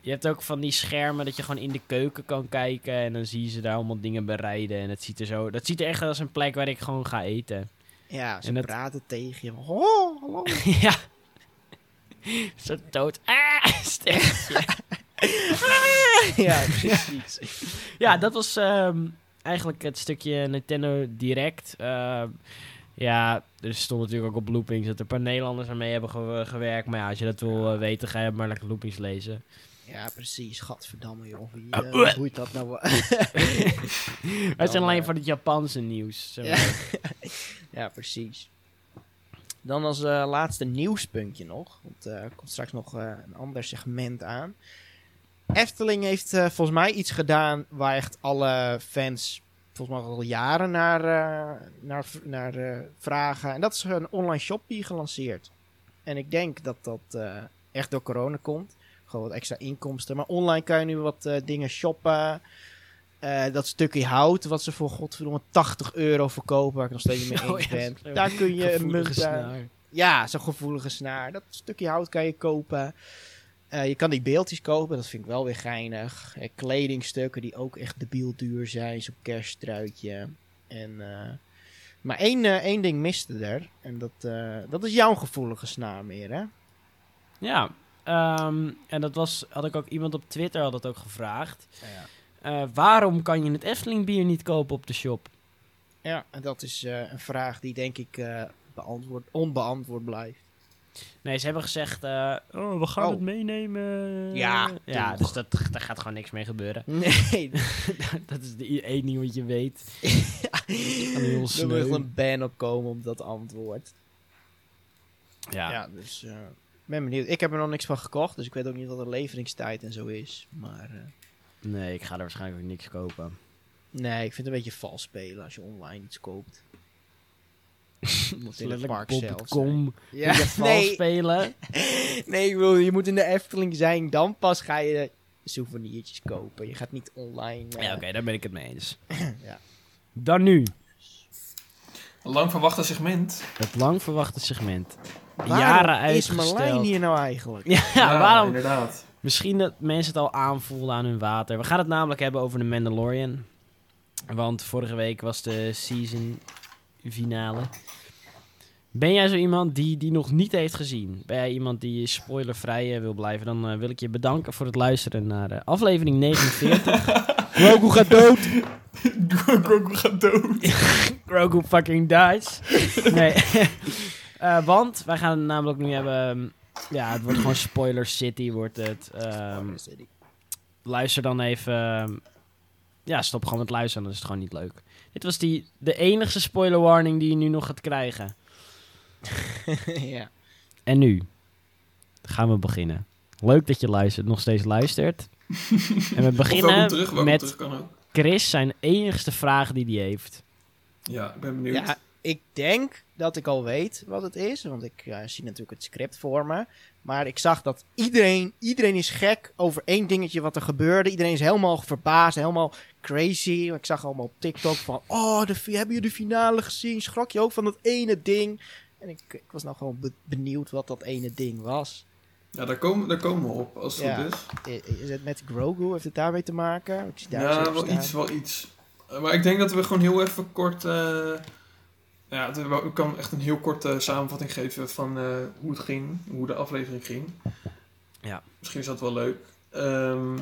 A: Je hebt ook van die schermen dat je gewoon in de keuken kan kijken. En dan zie je ze daar allemaal dingen bereiden. En het ziet er zo... Dat ziet er echt als een plek waar ik gewoon ga eten.
B: Ja, ze
A: En dat-
B: praten tegen je. Oh, hallo.
A: ja. Zo'n Toad. Ah, sterk.
B: ja, precies.
A: Ja, dat was ehm, eigenlijk het stukje Nintendo Direct. Ehm, Ja, er stond natuurlijk ook op loopings dat er een paar Nederlanders aan mee hebben ge- gewerkt. Maar ja, als je dat wil eh, weten, ga je maar lekker loopings lezen.
B: Ja, precies. Gadverdamme, joh. Wie
A: Ah,
B: eh,
A: uah.
B: boeit dat nou? wel?
A: Het zijn alleen
B: eh,
A: van het Japanse nieuws. zeg
B: Ja.
A: maar.
B: ja, precies. Dan als eh, laatste nieuwspuntje nog. Want eh, er komt straks nog eh, een ander segment aan. Efteling heeft eh, volgens mij iets gedaan waar echt alle fans volgens mij al jaren naar, eh, naar, v- naar eh, vragen. En dat is een online shoppie gelanceerd. En ik denk dat dat eh, echt door corona komt. Gewoon wat extra inkomsten. Maar online kan je nu wat eh, dingen shoppen. Eh, dat stukje hout wat ze voor godverdomme 80 euro verkopen, waar ik nog steeds niet mee
A: Oh
B: eens
A: ja,
B: ben.
A: zo.
B: Daar kun je een
A: Gevoelige
B: munt aan-
A: snaar.
B: ja, zo'n gevoelige snaar. Dat stukje hout kan je kopen. Eh, je kan die beeldjes kopen, dat vind ik wel weer geinig. Eh, kledingstukken die ook echt debiel duur zijn, zo'n kerstruitje. En, eh, maar één, eh, één ding miste er. En dat, eh, dat is jouw gevoelige snaar meer, hè?
A: Ja, ehm, en dat was, had ik ook iemand op Twitter had dat ook gevraagd.
B: Ja,
A: Eh, waarom kan je het Efteling bier niet kopen op de shop?
B: en dat is eh, een vraag die denk ik eh, beantwoord, onbeantwoord blijft.
A: Nee, ze hebben gezegd, eh, oh, we gaan
B: Oh.
A: het meenemen.
B: Ja,
A: ja
B: toch.
A: dus dat, daar gaat gewoon niks mee gebeuren.
B: Nee,
A: dat is de i- één ding wat je weet.
B: er moet
A: sneu.
B: echt een ban op komen op dat antwoord.
A: Ja,
B: Ja, dus eh, ik ben benieuwd. Ik heb er nog niks van gekocht, dus ik weet ook niet wat de leveringstijd en zo is. Maar eh,
A: nee, ik ga er waarschijnlijk ook niks kopen.
B: nee, ik vind het een beetje vals spelen als je online iets koopt. moet in het
A: Letterlijk
B: park zelf zijn.
A: bol.com,
B: Ja,
A: in je val
B: nee,
A: spelen.
B: nee ik bedoel, je moet in de Efteling zijn, dan pas ga je souveniertjes kopen. Je gaat niet online. eh,
A: Ja, oké, daar ben ik het mee eens.
B: Ja.
A: Dan nu,
C: Lang verwachte segment.
A: het lang verwachte segment.
B: waarom
A: Jaren
B: is Marlijn
A: uitgesteld.
B: hier nou eigenlijk?
A: Ja, waarom?
C: Inderdaad.
A: Misschien dat mensen het al aanvoelden aan hun water. We gaan het namelijk hebben over de Mandalorian. Want vorige week was de season finale. Ben jij zo iemand die die nog niet heeft gezien? Ben jij iemand die spoilervrij eh, wil blijven? Dan eh, wil ik je bedanken voor het luisteren naar eh, aflevering 49.
B: Grogu gaat dood!
C: Grogu gaat dood.
A: Grogu fucking dies. Nee. Eh, want wij gaan het namelijk nu hebben... ehm, Ja, het wordt gewoon Spoiler City wordt het. ehm, luister dan even. ehm, Ja, stop gewoon met luisteren, dan is het gewoon niet leuk. Dit was die, de enige spoiler warning die je nu nog gaat krijgen.
B: ja.
A: En nu gaan we beginnen. Leuk dat je luistert, nog steeds luistert. en we
C: Of welkom
A: beginnen
C: terug, welkom
A: met
C: terug kan ook.
A: Chris, zijn enigste vraag die hij heeft.
C: Ja, ik ben benieuwd.
B: Ja, ik denk dat ik al weet wat het is. Want ik eh, zie natuurlijk het script voor me. Maar ik zag dat iedereen, iedereen is gek over één dingetje wat er gebeurde. Iedereen is helemaal verbaasd, helemaal crazy. Ik zag allemaal op TikTok van... Oh, de, fi- hebben jullie de finale gezien? Schrok je ook van dat ene ding? En ik, ik was nou gewoon be- benieuwd wat dat ene ding was.
C: Ja, daar komen, daar komen we op, als het
B: Ja.
C: goed is.
B: I- Is het met Grogu? Heeft het daarmee te maken? Ik zie daar eens
C: ja,
B: even
C: wel
B: staan.
C: iets, wel iets. Eh, maar ik denk dat we gewoon heel even kort... eh, ja, het- wel- ik kan echt een heel korte samenvatting geven van eh, hoe het ging. Hoe de aflevering ging.
A: Ja.
C: Misschien is dat wel leuk. Ehm,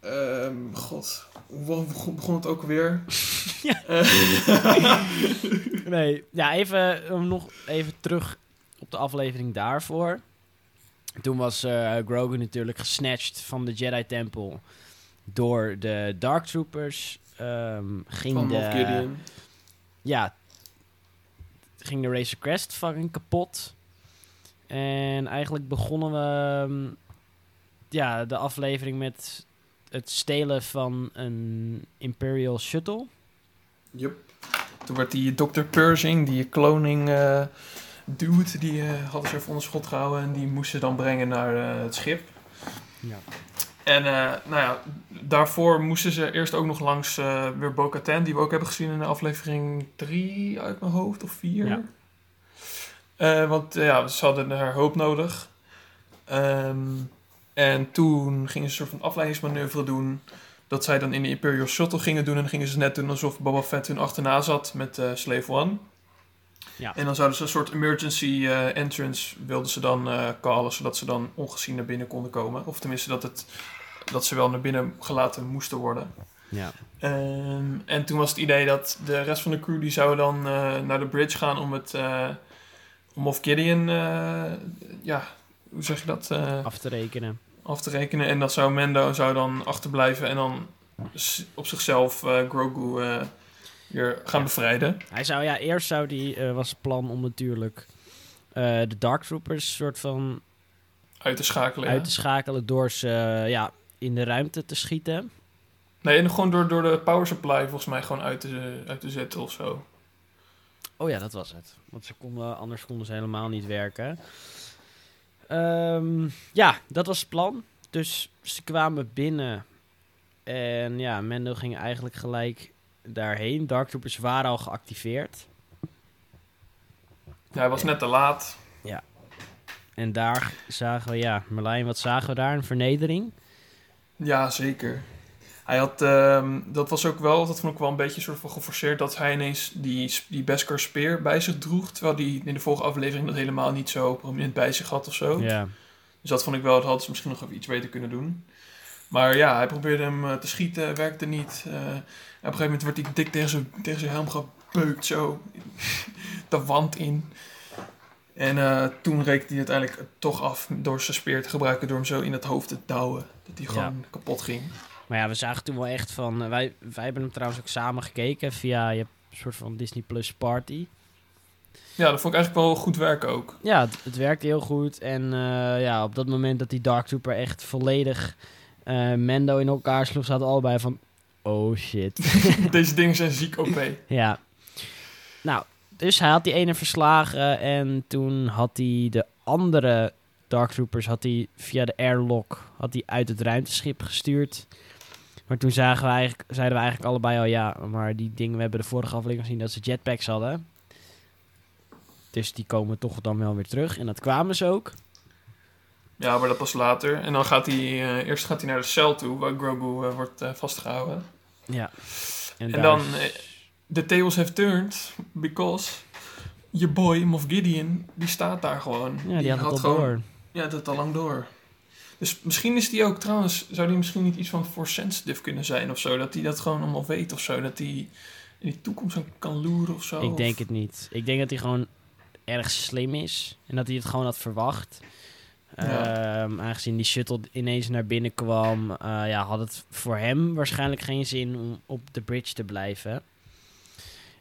C: ehm, god, hoe hoe begon- begon het ook Eh, weer?
A: Nee. Ja, even, eh, nog even terug op de aflevering daarvoor. Toen was eh Grogu natuurlijk gesnatcht van de Jedi-tempel door de Dark Troopers. Ehm, ging
C: Van
A: de...
C: Moff Gideon.
A: ja, ging de Razor Crest fucking kapot. En eigenlijk begonnen we ehm, ja, de aflevering met het stelen van een Imperial Shuttle.
C: Yup. Toen werd die Dr. Pershing, die kloning eh dude, die eh, hadden ze even onder schot gehouden. En die moesten ze dan brengen naar eh, het schip.
A: Ja.
C: En eh, nou ja, daarvoor moesten ze eerst ook nog langs eh, weer Bo-Katan, die we ook hebben gezien in de aflevering 3 uit mijn hoofd, of 4.
A: Ja.
C: Eh, want eh, ja, ze hadden haar hulp nodig. Ehm, en toen gingen ze een soort van afleidingsmanoeuvre doen. Dat zij dan in de Imperial Shuttle gingen doen. En dan gingen ze net doen alsof Boba Fett hun achterna zat met eh, Slave One.
A: Ja.
C: En dan zouden ze een soort emergency eh, entrance wilden ze dan eh, callen. Zodat ze dan ongezien naar binnen konden komen. Of tenminste dat het dat ze wel naar binnen gelaten moesten worden.
A: Ja.
C: Ehm, en toen was het idee dat de rest van de crew die zou dan eh, naar de bridge gaan om het eh, om of Gideon, eh, ja, hoe zeg je dat, eh,
A: Af te rekenen.
C: af te rekenen. En dan zou Mendo zou dan achterblijven en dan s- op zichzelf eh, Grogu eh, weer gaan
A: Ja.
C: bevrijden.
A: Hij zou, ja, eerst zou die, eh, was het plan om natuurlijk eh, de Dark Troopers soort van
C: Uit te schakelen. ja.
A: uit te schakelen door ze eh, ja, in de ruimte te schieten.
C: Nee, en gewoon door, door de power supply volgens mij gewoon uit te, eh, uit te zetten of zo.
A: Oh ja, dat was het. Want ze konden, anders konden ze helemaal niet werken. Ehm, ja, dat was het plan. Dus ze kwamen binnen. En ja, Mendo ging eigenlijk gelijk daarheen. Dark Troopers waren al geactiveerd.
C: Ja, hij was net te laat.
A: En daar zagen we, ja, Merlijn, wat zagen we daar? Een vernedering.
C: Ja, zeker. Hij had, ehm, dat was ook wel, dat vond ik wel een beetje soort van geforceerd, dat hij ineens die, s- die Beskar speer bij zich droeg, terwijl hij in de vorige aflevering dat helemaal niet zo prominent bij zich had of zo.
A: Ja.
C: Dus dat vond ik wel, dat hadden ze misschien nog even iets beter kunnen doen. Maar ja, hij probeerde hem eh, te schieten, werkte niet. Eh, en op een gegeven moment werd hij dik tegen zijn, tegen zijn helm gebeukt, zo de wand in. En eh, toen reekte hij uiteindelijk toch af door zijn speer te gebruiken, door hem zo in het hoofd te douwen. Dat hij
A: Ja.
C: gewoon kapot ging.
A: Maar ja, we zagen toen wel echt van... eh, wij, wij hebben hem trouwens ook samen gekeken via je hebt een soort van Disney Plus Party.
C: Ja, dat vond ik eigenlijk wel goed werken ook.
A: Ja, het, het werkte heel goed. En eh, ja, op dat moment dat die Dark Trooper echt volledig eh, Mendo in elkaar sloeg, zaten we allebei van... Oh shit.
C: Deze dingen zijn ziek OP.
A: ja. Nou, dus hij had die ene verslagen en toen had hij de andere Dark Troopers had hij via de airlock had hij uit het ruimteschip gestuurd. Maar toen zagen we eigenlijk, zeiden we eigenlijk allebei al ja, maar die dingen, we hebben de vorige aflevering gezien dat ze jetpacks hadden. Dus die komen toch dan wel weer terug. En dat kwamen ze ook.
C: Ja, maar dat pas later. En dan gaat hij, eh, eerst gaat hij naar de cel toe, waar Grogu eh, wordt eh, vastgehouden.
A: Ja.
C: En,
A: daar
C: dan,
A: is-
C: eh, the tables have turned, because je boy, Moff Gideon, die staat daar gewoon.
A: ja, die had het al door.
C: Ja, dat had het al lang door. Dus misschien is die ook, trouwens, zou die misschien niet iets van force sensitive kunnen zijn of zo? Dat hij dat gewoon allemaal weet of zo? Dat hij in die toekomst aan kan loeren of zo?
A: Ik denk het niet. Ik denk dat hij gewoon erg slim is. En dat hij het gewoon had verwacht.
C: Ja.
A: Ehm, aangezien die shuttle ineens naar binnen kwam, eh, ja, had het voor hem waarschijnlijk geen zin om op de bridge te blijven.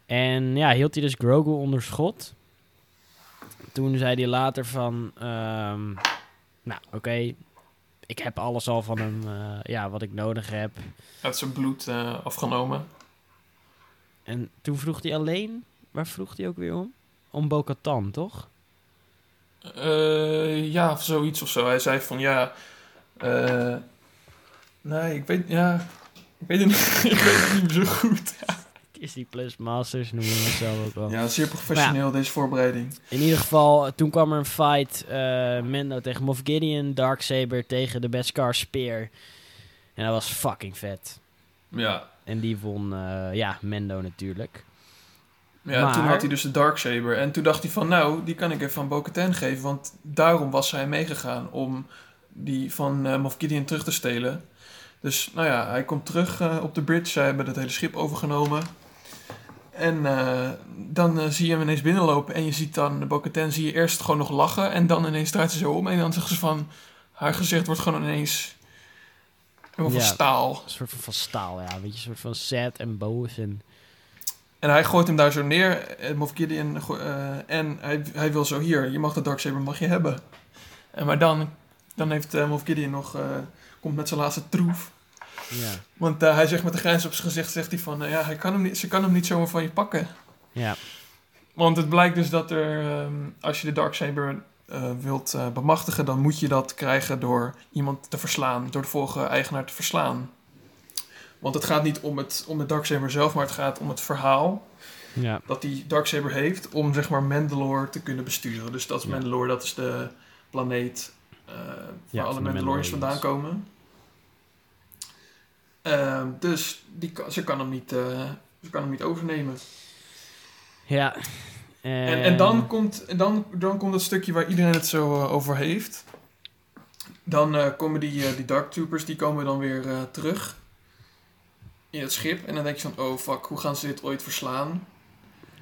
A: En ja, hield hij dus Grogu onder schot. Toen zei hij later van, ehm, nou oké, ik heb alles al van hem, eh, ja, wat ik nodig heb.
C: Hij heeft zijn bloed eh, afgenomen.
A: En toen vroeg hij alleen, waar vroeg hij ook weer om? Om Bo-Katan, toch?
C: Eh, ja, of zoiets of zo. Hij zei van ja. eh, nee, ik weet, ja, ik weet het niet, ik weet het niet meer zo goed.
A: Disney Plus Masters noemen we het zelf ook wel.
C: Ja, zeer
A: professioneel,
C: deze voorbereiding.
A: In ieder geval, eh, toen kwam er een fight. eh, Mendo tegen Moff Gideon, Darksaber tegen de Beskar Speer. En dat was fucking vet.
C: Ja,
A: En die won, eh, ja, Mendo natuurlijk.
C: ja
A: Maar-
C: toen had hij dus de Darksaber. En toen dacht hij van nou, die kan ik even aan Bo-Katan geven. Want daarom was hij meegegaan om die van eh Moff Gideon terug te stelen. Dus nou ja, hij komt terug eh, op de bridge. Zij hebben het hele schip overgenomen. En eh, dan eh, zie je hem ineens binnenlopen. En je ziet dan de Bo-Katan zie je eerst gewoon nog lachen. En dan ineens draait ze zo om. En dan zegt ze van... Haar gezicht wordt gewoon ineens... Helemaal
A: Ja.
C: van staal.
A: Een soort van, van staal, ja. Weet je, een soort van sad en boos. En
C: En hij gooit hem daar zo neer. eh, Moff Gideon. go- eh, en hij, hij wil zo hier. Je mag de Darksaber mag je hebben. En maar dan, dan heeft eh, Moff Gideon nog... eh, komt met zijn laatste troef.
A: ja.
C: Want eh, hij zegt met de grijns op zijn gezicht, zegt hij van, eh, ja, hij kan hem niet, ze kan hem niet zomaar van je pakken.
A: ja.
C: Want het blijkt dus dat er, ehm, als je de Darksaber eh wilt eh, bemachtigen, dan moet je dat krijgen door iemand te verslaan, door de vorige eigenaar te verslaan. Want het gaat niet om het, om het Darksaber zelf, maar het gaat om het verhaal
A: Ja.
C: dat die Darksaber heeft om, zeg maar, Mandalore te kunnen besturen. Dus dat is
A: Ja.
C: Mandalore, dat is de planeet
A: Ja,
C: eh, waar alle
A: van de
C: Mandalorians vandaan
A: Mandalorians.
C: komen. Ehm, dus die, kan- ze, kan hem niet, eh, ze kan hem niet overnemen.
A: Ja.
C: En, en dan, komt, en dan, dan komt dat stukje waar iedereen het zo eh, over heeft. Dan eh, komen die, eh, die Dark Troopers, die komen dan weer eh, terug. in het schip. En dan denk je van, oh fuck, hoe gaan ze dit ooit verslaan?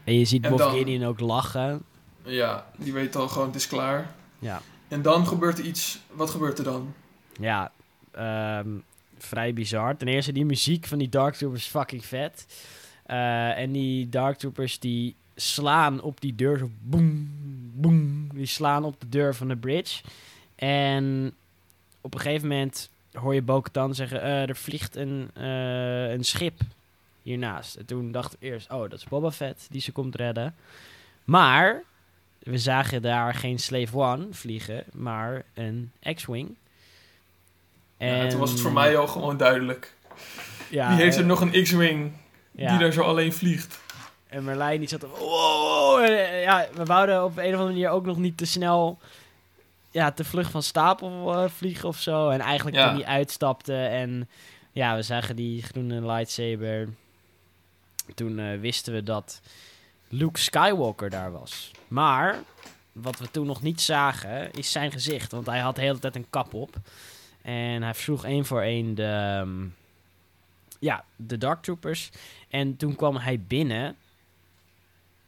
A: En je ziet
C: En
A: Moff
C: dan-
A: Gideon ook lachen.
C: Ja, die weet al gewoon, het is klaar.
A: Ja.
C: En dan gebeurt er iets. Wat gebeurt er dan?
A: Ja, ehm, vrij bizar. Ten eerste, die muziek van die Dark Troopers is fucking vet. Eh, en die Dark Troopers die slaan op die deur zo boem, boem. Die slaan op de deur van de bridge. En op een gegeven moment hoor je Bo-Katan zeggen, eh, er vliegt een, eh, een schip hiernaast. En toen dacht ik eerst, oh, dat is Boba Fett die ze komt redden. Maar we zagen daar geen Slave One vliegen, maar een X-Wing.
C: Ja, toen was het voor mij al gewoon duidelijk.
A: Ja,
C: die heeft
A: eh,
C: er nog een X-Wing
A: ja.
C: die daar zo alleen vliegt.
A: En Merlijn die zat er... Wow! En, eh, Ja, we wouden op een of andere manier ook nog niet te snel... Ja, te vlug van stapel eh, vliegen of zo. En eigenlijk
C: Ja.
A: toen die uitstapte en... Ja, we zagen die groene lightsaber. Toen eh, wisten we dat Luke Skywalker daar was. Maar wat we toen nog niet zagen is zijn gezicht. Want hij had de hele tijd een kap op. En hij vroeg één voor één de... ehm, ja, de Dark Troopers. En toen kwam hij binnen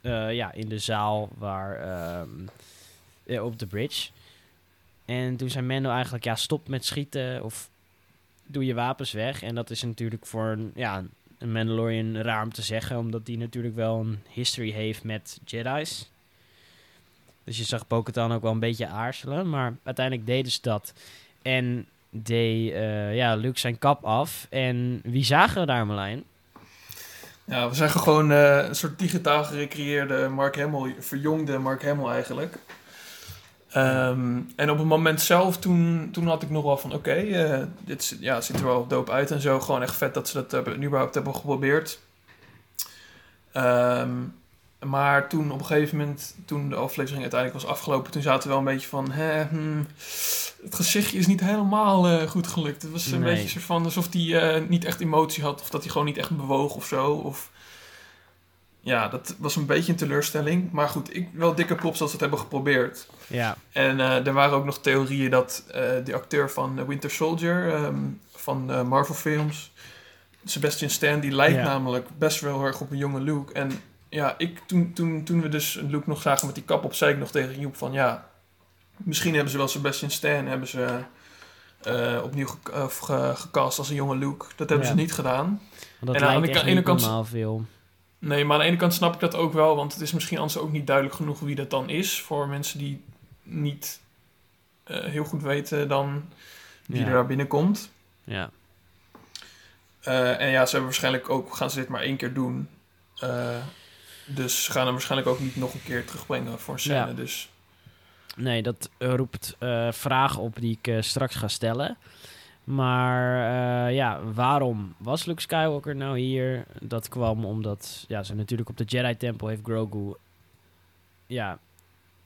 A: eh, ja, in de zaal waar, ehm, eh, op de bridge. En toen zei Mendo eigenlijk, ja, stop met schieten of doe je wapens weg. En dat is natuurlijk voor een, ja, een Mandalorian raar om te zeggen, omdat die natuurlijk wel een history heeft met Jedi's. Dus je zag Bo-Katan ook wel een beetje aarzelen, maar uiteindelijk deden ze dat. En deed eh, ja, Luke zijn kap af. En wie zagen we daar, Marlijn?
C: Ja, we zagen gewoon eh, een soort digitaal gerecreëerde Mark Hamill, verjongde Mark Hamill eigenlijk. Ehm, en op het moment zelf, toen, toen had ik nog wel van, oké, eh, dit zit- ja, ziet er wel dope uit en zo. Gewoon echt vet dat ze dat hebben, überhaupt hebben geprobeerd. Ehm, maar toen op een gegeven moment, toen de aflevering uiteindelijk was afgelopen, toen zaten we wel een beetje van, hè, hmm, het gezichtje is niet helemaal eh, goed gelukt. Het was een
A: Nee.
C: beetje soort van alsof hij eh, niet echt emotie had, of dat hij gewoon niet echt bewoog of zo. Of... Ja, dat was een beetje een teleurstelling. Maar goed, ik wel dikke props dat ze het hebben geprobeerd.
A: Ja,
C: En eh, er waren ook nog theorieën dat eh, de acteur van Winter Soldier, ehm, van eh, Marvel films, Sebastian Stan, die lijkt
A: Ja.
C: namelijk best wel erg op een jonge Luke. En ja, ik, toen, toen, toen we dus Luke nog zagen met die kap op, zei ik nog tegen Joep van ja, misschien hebben ze wel Sebastian Stan hebben ze, eh, opnieuw ge- of ge- gecast als een jonge Luke. Dat hebben
A: Ja.
C: ze niet gedaan.
A: want dat
C: En aan de
A: lijkt echt
C: ka-
A: niet
C: ene kant-
A: normaal veel.
C: Nee, maar aan de ene kant snap ik dat ook wel, want het is misschien anders ook niet duidelijk genoeg wie dat dan is. Voor mensen die niet eh, heel goed weten dan wie
A: Ja.
C: er daar binnenkomt.
A: Ja.
C: Eh, en ja, ze hebben waarschijnlijk ook, gaan ze dit maar één keer doen. Eh, dus ze gaan hem waarschijnlijk ook niet nog een keer terugbrengen voor een scène.
A: Ja.
C: Dus
A: Nee, dat eh, roept eh, vragen op die ik eh, straks ga stellen. Maar eh, ja, waarom was Luke Skywalker nou hier? Dat kwam omdat ja, ze natuurlijk op de Jedi-tempel heeft Grogu... Ja,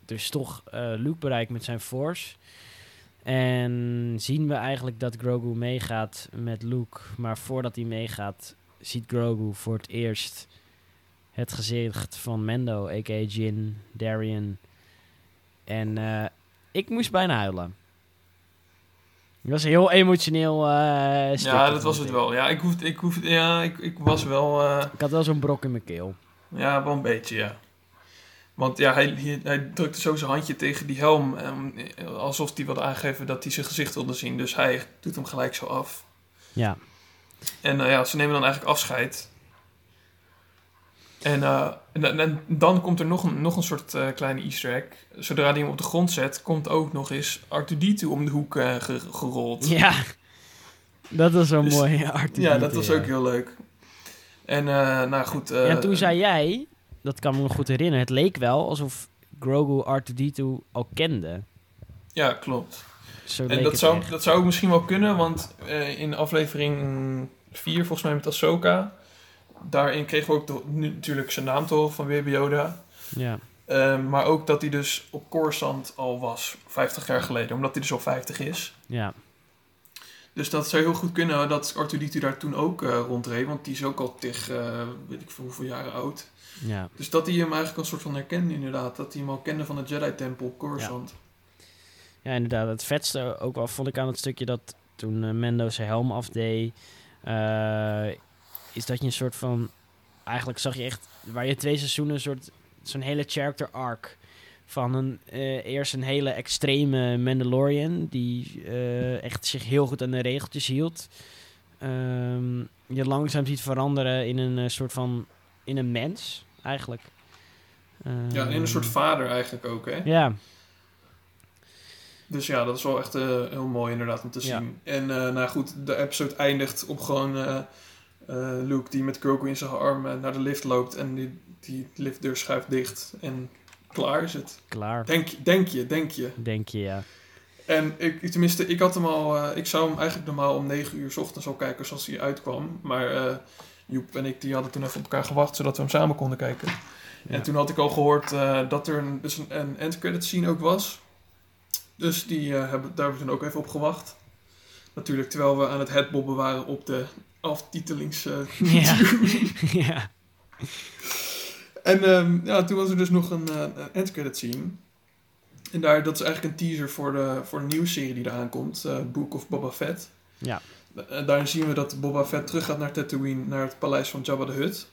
A: dus toch eh, Luke bereikt met zijn Force. En zien we eigenlijk dat Grogu meegaat met Luke. Maar voordat hij meegaat, ziet Grogu voor het eerst het gezicht van Mendo, a.k.a. Jin, Darien... En eh, ik moest bijna huilen. Het was een heel emotioneel. eh, stuk,
C: ja, dat was
A: vond
C: het
A: ik.
C: wel. Ja, ik, hoef, ik, hoef, ja, ik, ik was wel, eh,
A: Ik had wel zo'n brok in mijn keel.
C: ja, wel een beetje, ja. Want ja, hij, hij, hij drukte zo zijn handje tegen die helm, eh, alsof hij wilde aangeven dat hij zijn gezicht wilde zien. Dus hij doet hem gelijk zo af.
A: Ja.
C: En nou ja, ze nemen dan eigenlijk afscheid. En, eh, en, dan- en dan komt er nog een, nog een soort eh, kleine easter egg. Zodra die hem op de grond zet, komt ook nog eens R2-D2 om de hoek eh, ge- gerold. Ja,
A: Ja. Dat was zo'n
C: Dus-
A: mooie art.
C: dat was ook heel leuk. En eh, nou goed... eh,
A: En toen zei jij, dat kan me nog goed herinneren, het leek wel alsof Grogu R2D2 al kende.
C: Ja, klopt.
A: Zo leek
C: En dat
A: het
C: zou,
A: echt.
C: dat zou ook misschien wel kunnen, want eh, in aflevering 4, volgens mij met Ahsoka... Daarin kregen we ook de- nu natuurlijk zijn naam toch van Baby Yoda.
A: Ja.
C: Ehm, maar ook dat hij dus op Coruscant al was, 50 jaar geleden, omdat hij dus al 50 is.
A: Ja.
C: Dus dat zou heel goed kunnen dat Artuditu daar toen ook eh rondreed, want die is ook al tig, eh, weet ik veel hoeveel jaren oud.
A: Ja.
C: Dus dat hij hem eigenlijk een soort van herkende inderdaad, dat hij hem al kende van de Jedi-tempel op Coruscant.
A: Ja, inderdaad. Het vetste ook wel vond ik aan het stukje dat toen eh, Mendo zijn helm afdeed. eh, is dat je een soort van... Eigenlijk zag je echt, waar je twee seizoenen een soort... Zo'n hele character arc. Van een, eh, eerst een hele extreme Mandalorian. Die eh, echt zich heel goed aan de regeltjes hield. Ehm, je langzaam ziet veranderen in een eh, soort van... In een mens, eigenlijk. Ehm,
C: Ja, en een
A: Hmm.
C: soort vader eigenlijk ook, hè?
A: Ja,
C: Dus ja, dat is wel echt eh, heel mooi inderdaad om te
A: Ja.
C: zien. En eh, nou goed, de episode eindigt op gewoon eh, eh, Luke die met Grogu in zijn arm eh, naar de lift loopt en die, die liftdeur schuift dicht en klaar is het.
A: klaar.
C: Denk, denk je, denk je.
A: Denk je, ja.
C: En ik, tenminste, ik had hem al, eh, ik zou hem eigenlijk normaal om 9 uur 's ochtends al kijken zoals hij uitkwam. Maar eh, Joep en ik die hadden toen even op elkaar gewacht zodat we hem samen konden kijken.
A: Ja.
C: En toen had ik al gehoord eh, dat er een, dus een, een endcredit scene ook was. Dus die, eh, hebben, daar hebben we toen ook even op gewacht. Natuurlijk, terwijl we aan het headbobben waren op de aftitelings... eh,
A: Ja. ja.
C: En ehm, ja, toen was er dus nog een, eh, een endcredit scene. En daar, dat is eigenlijk een teaser voor, de, voor een nieuwe serie die eraan komt. eh, Book of Boba Fett.
A: Ja.
C: Eh, daarin zien we dat Boba Fett terug gaat naar Tatooine, naar het paleis van Jabba de Hutt.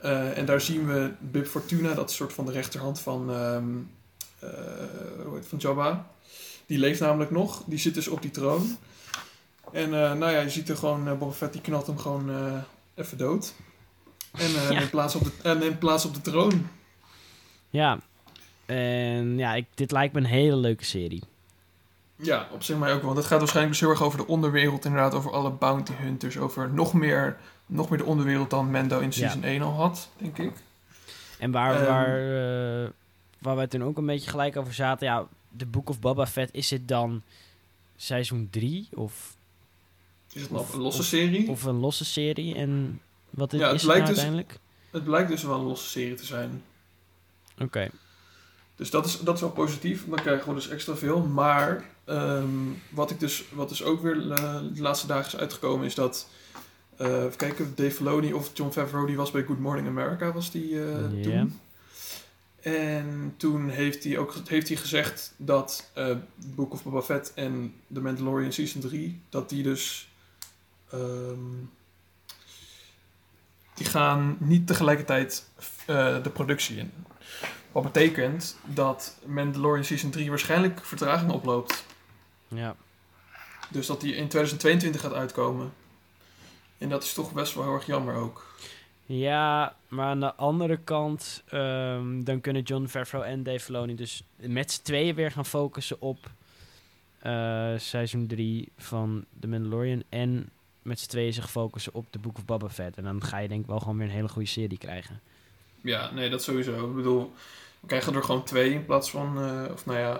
C: Eh, en daar zien we Bib Fortuna, dat is soort van de rechterhand van, ehm, eh, hoe heet het, van Jabba. Die leeft namelijk nog. Die zit dus op die troon. En eh, nou ja, je ziet er gewoon, eh, Boba Fett die knalt hem gewoon eh, even dood. En eh,
A: Ja.
C: neemt, plaats op de, en neemt plaats op de troon.
A: Ja. En ja, ik, dit lijkt me een hele leuke serie.
C: Ja, op zich mij ook wel. Want het gaat waarschijnlijk dus heel erg over de onderwereld. Inderdaad, over alle bounty hunters. Over nog meer, nog meer de onderwereld dan Mendo in season 1 al had, denk ik.
A: En waar,
C: Ehm.
A: waar, eh, waar wij toen ook een beetje gelijk over zaten. Ja, de Book of Boba Fett, is het dan seizoen 3 of,
C: Is het nog
A: Of-
C: een losse
A: of-
C: serie?
A: of een losse serie? En wat is,
C: Ja, het
A: is het nou
C: lijkt dus-
A: uiteindelijk?
C: Het blijkt dus wel een losse serie te zijn.
A: Oké.
C: Dus dat is, dat is wel positief. Dan krijgen we dus extra veel. Maar ehm, wat, ik dus, wat dus ook weer eh, de laatste dagen is uitgekomen... is dat... eh even kijken, Dave Filoni of John Favreau... die was bij Good Morning America, was die eh,
A: Ja.
C: toen. En toen heeft hij ook heeft hij gezegd dat eh Book of Boba Fett en The Mandalorian Season 3, dat die dus. ehm, die gaan niet tegelijkertijd eh, de productie in. Wat betekent dat Mandalorian Season 3 waarschijnlijk vertraging oploopt.
A: Ja.
C: Dus dat die in 2022 gaat uitkomen. En dat is toch best wel heel erg jammer ook.
A: Ja, maar aan de andere kant, ehm, dan kunnen John Favreau en Dave Filoni dus met z'n tweeën weer gaan focussen op eh, seizoen 3 van The Mandalorian. En met z'n tweeën zich focussen op The Book of Boba Fett. En dan ga je denk ik wel gewoon weer een hele goede serie krijgen.
C: Ja, nee, dat sowieso. Ik bedoel, we krijgen er gewoon twee in plaats van, eh, of nou ja,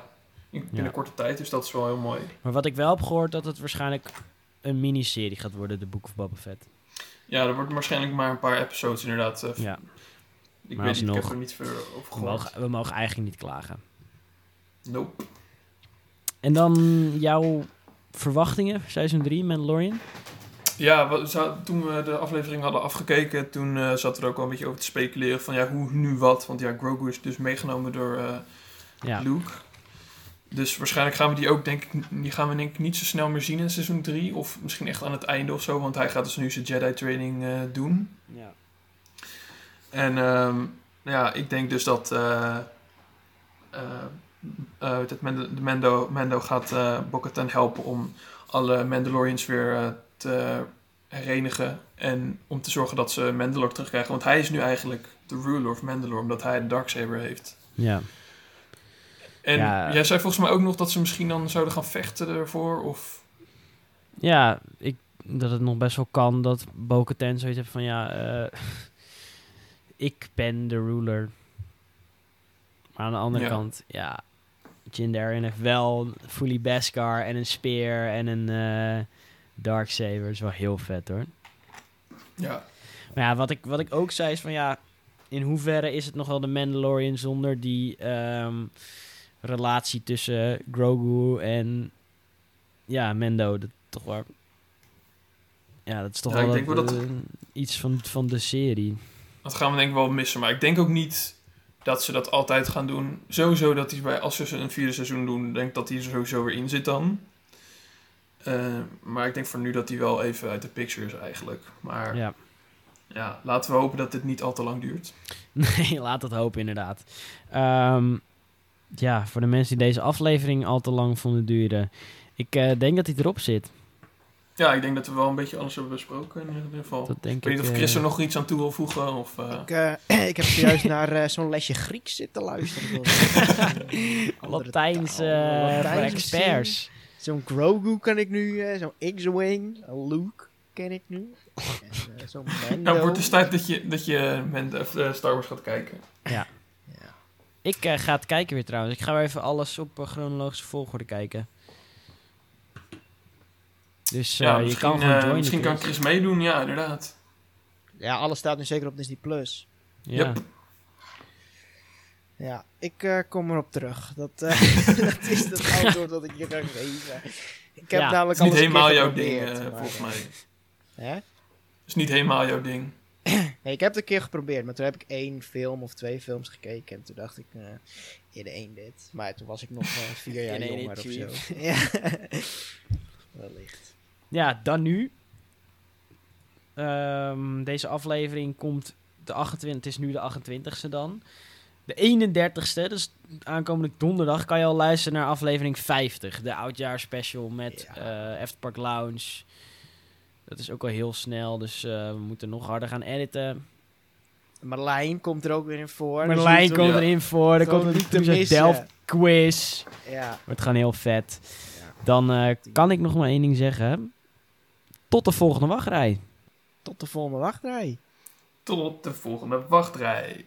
C: in, in
A: Ja.
C: een korte tijd. Dus dat is wel heel mooi.
A: Maar wat ik wel heb gehoord, dat het waarschijnlijk een miniserie gaat worden, The Book of Boba Fett.
C: Ja, er wordt waarschijnlijk maar een paar episodes inderdaad. eh,
A: Ja,
C: ik
A: maar
C: weet niet, ik
A: alsnog.
C: heb er niet veel over
A: we
C: gehoord.
A: mogen, we mogen eigenlijk niet klagen.
C: Nope.
A: En dan jouw verwachtingen, seizoen 3, Mandalorian?
C: Ja, we, za- toen we de aflevering hadden afgekeken, toen eh, zat er ook wel een beetje over te speculeren van ja, hoe, nu wat. Want ja, Grogu is dus meegenomen door eh,
A: Ja,
C: Luke. Dus waarschijnlijk gaan we die ook, denk ik, n- die gaan we denk ik niet zo snel meer zien in seizoen 3. Of misschien echt aan het einde of zo, want hij gaat dus nu zijn Jedi training eh, doen.
A: ja.
C: En ehm, ja, ik denk dus dat eh, eh, eh, dat Mendo, de Mendo, Mendo gaat eh Bo-Katan helpen om alle Mandalorians weer eh, te herenigen. En om te zorgen dat ze Mandalore terugkrijgen. Want hij is nu eigenlijk de ruler of Mandalore, omdat hij de Darksaber heeft.
A: ja.
C: En
A: Ja.
C: jij zei volgens mij ook nog dat ze misschien dan zouden gaan vechten ervoor. Of...
A: Ja, ik, dat het nog best wel kan dat Bo-Katan zoiets heeft van... Ja, eh, ik ben de ruler. Maar aan de andere
C: Ja.
A: kant, ja... Jin Darren heeft wel een fully Beskar en een speer en een eh Darksaber. is wel heel vet hoor.
C: Ja.
A: Maar ja, wat ik, wat ik ook zei is van ja, in hoeverre is het nog wel de Mandalorian zonder die ehm, relatie tussen Grogu en ja, Mendo. Dat toch wel. Ja, dat is toch
C: Ja,
A: wel
C: ik denk wel dat-
A: eh, iets van, van de serie.
C: Dat gaan we denk ik wel missen. Maar ik denk ook niet dat ze dat altijd gaan doen. Sowieso dat die bij, als ze een vierde seizoen doen, denk ik dat die er sowieso weer in zit dan. Eh, maar ik denk voor nu dat die wel even uit de picture is eigenlijk. Maar
A: Ja.
C: Ja, laten we hopen dat dit niet al te lang duurt.
A: Nee, laat het hopen inderdaad. Ehm, ja, voor de mensen die deze aflevering al te lang vonden duren. Ik eh, denk dat hij erop zit.
C: Ja, ik denk dat we wel een beetje alles hebben besproken in ieder geval.
A: Dat denk
C: Oh, ik weet
A: ik.
C: niet of
A: eh,
C: Chris er nog iets aan toe wil voegen. Of, eh,
B: Ik, eh, ik heb zojuist naar eh, zo'n lesje Grieks zitten luisteren. door, eh, andere
A: Latijns
B: taal,
A: eh, voor
B: Latijns
A: experts.
B: zien. Zo'n Grogu kan ik nu, eh, zo'n X-Wing, een Luke ken ik nu. En, eh, zo'n Mando.
C: nou, het wordt dus tijd dat je, dat je men, of, eh, Star Wars gaat kijken.
A: Ik eh, ga het kijken weer trouwens. Ik ga weer even alles op eh, chronologische volgorde kijken. Dus eh,
C: ja,
A: je
C: misschien,
A: kan gewoon
C: eh,
A: joinen.
C: misschien kan
A: Chris.
C: Chris meedoen, ja, inderdaad.
B: Ja, alles staat nu zeker op Disney+. Plus.
A: Ja.
C: Yep.
B: Ja, ik eh, kom erop terug. Dat, eh, dat is het antwoord dat ik je kan geven. Ik heb
A: Ja.
B: namelijk
C: Het is niet
B: alles een keer
C: helemaal jouw ding,
B: geprobeerd,
C: eh,
B: maar,
C: volgens
B: eh,
C: mij.
B: Hè?
C: Het is niet helemaal jouw ding.
B: Nee, ik heb het een keer geprobeerd, maar toen heb ik één film of twee films gekeken. En toen dacht ik, eh in de één dit. Maar toen was ik nog eh, vier jaar
A: In één
B: jonger of
A: dit,
B: zo. ja. Wellicht.
A: ja, dan nu. Ehm, deze aflevering komt de 28 Het is nu de 28ste dan. De 31ste, dus aankomende donderdag, kan je al luisteren naar aflevering 50. De oudjaarspecial met eh Efterpark Lounge. Dat is ook al heel snel, dus eh, we moeten nog harder gaan editen.
B: Marlijn komt er ook weer in voor. dus
A: Marlijn
B: je hoeft
A: komt
C: ja.
A: erin voor. Dan
B: Gewoon
A: komt
B: niet
A: een
B: te
A: Toezicht
B: missen.
A: Delft quiz.
B: hem- Ja.
A: Wordt gewoon heel vet.
B: Ja.
A: Dan eh, kan ik nog maar één ding zeggen. Tot de volgende wachtrij.
B: Tot de volgende wachtrij.
C: Tot de volgende wachtrij.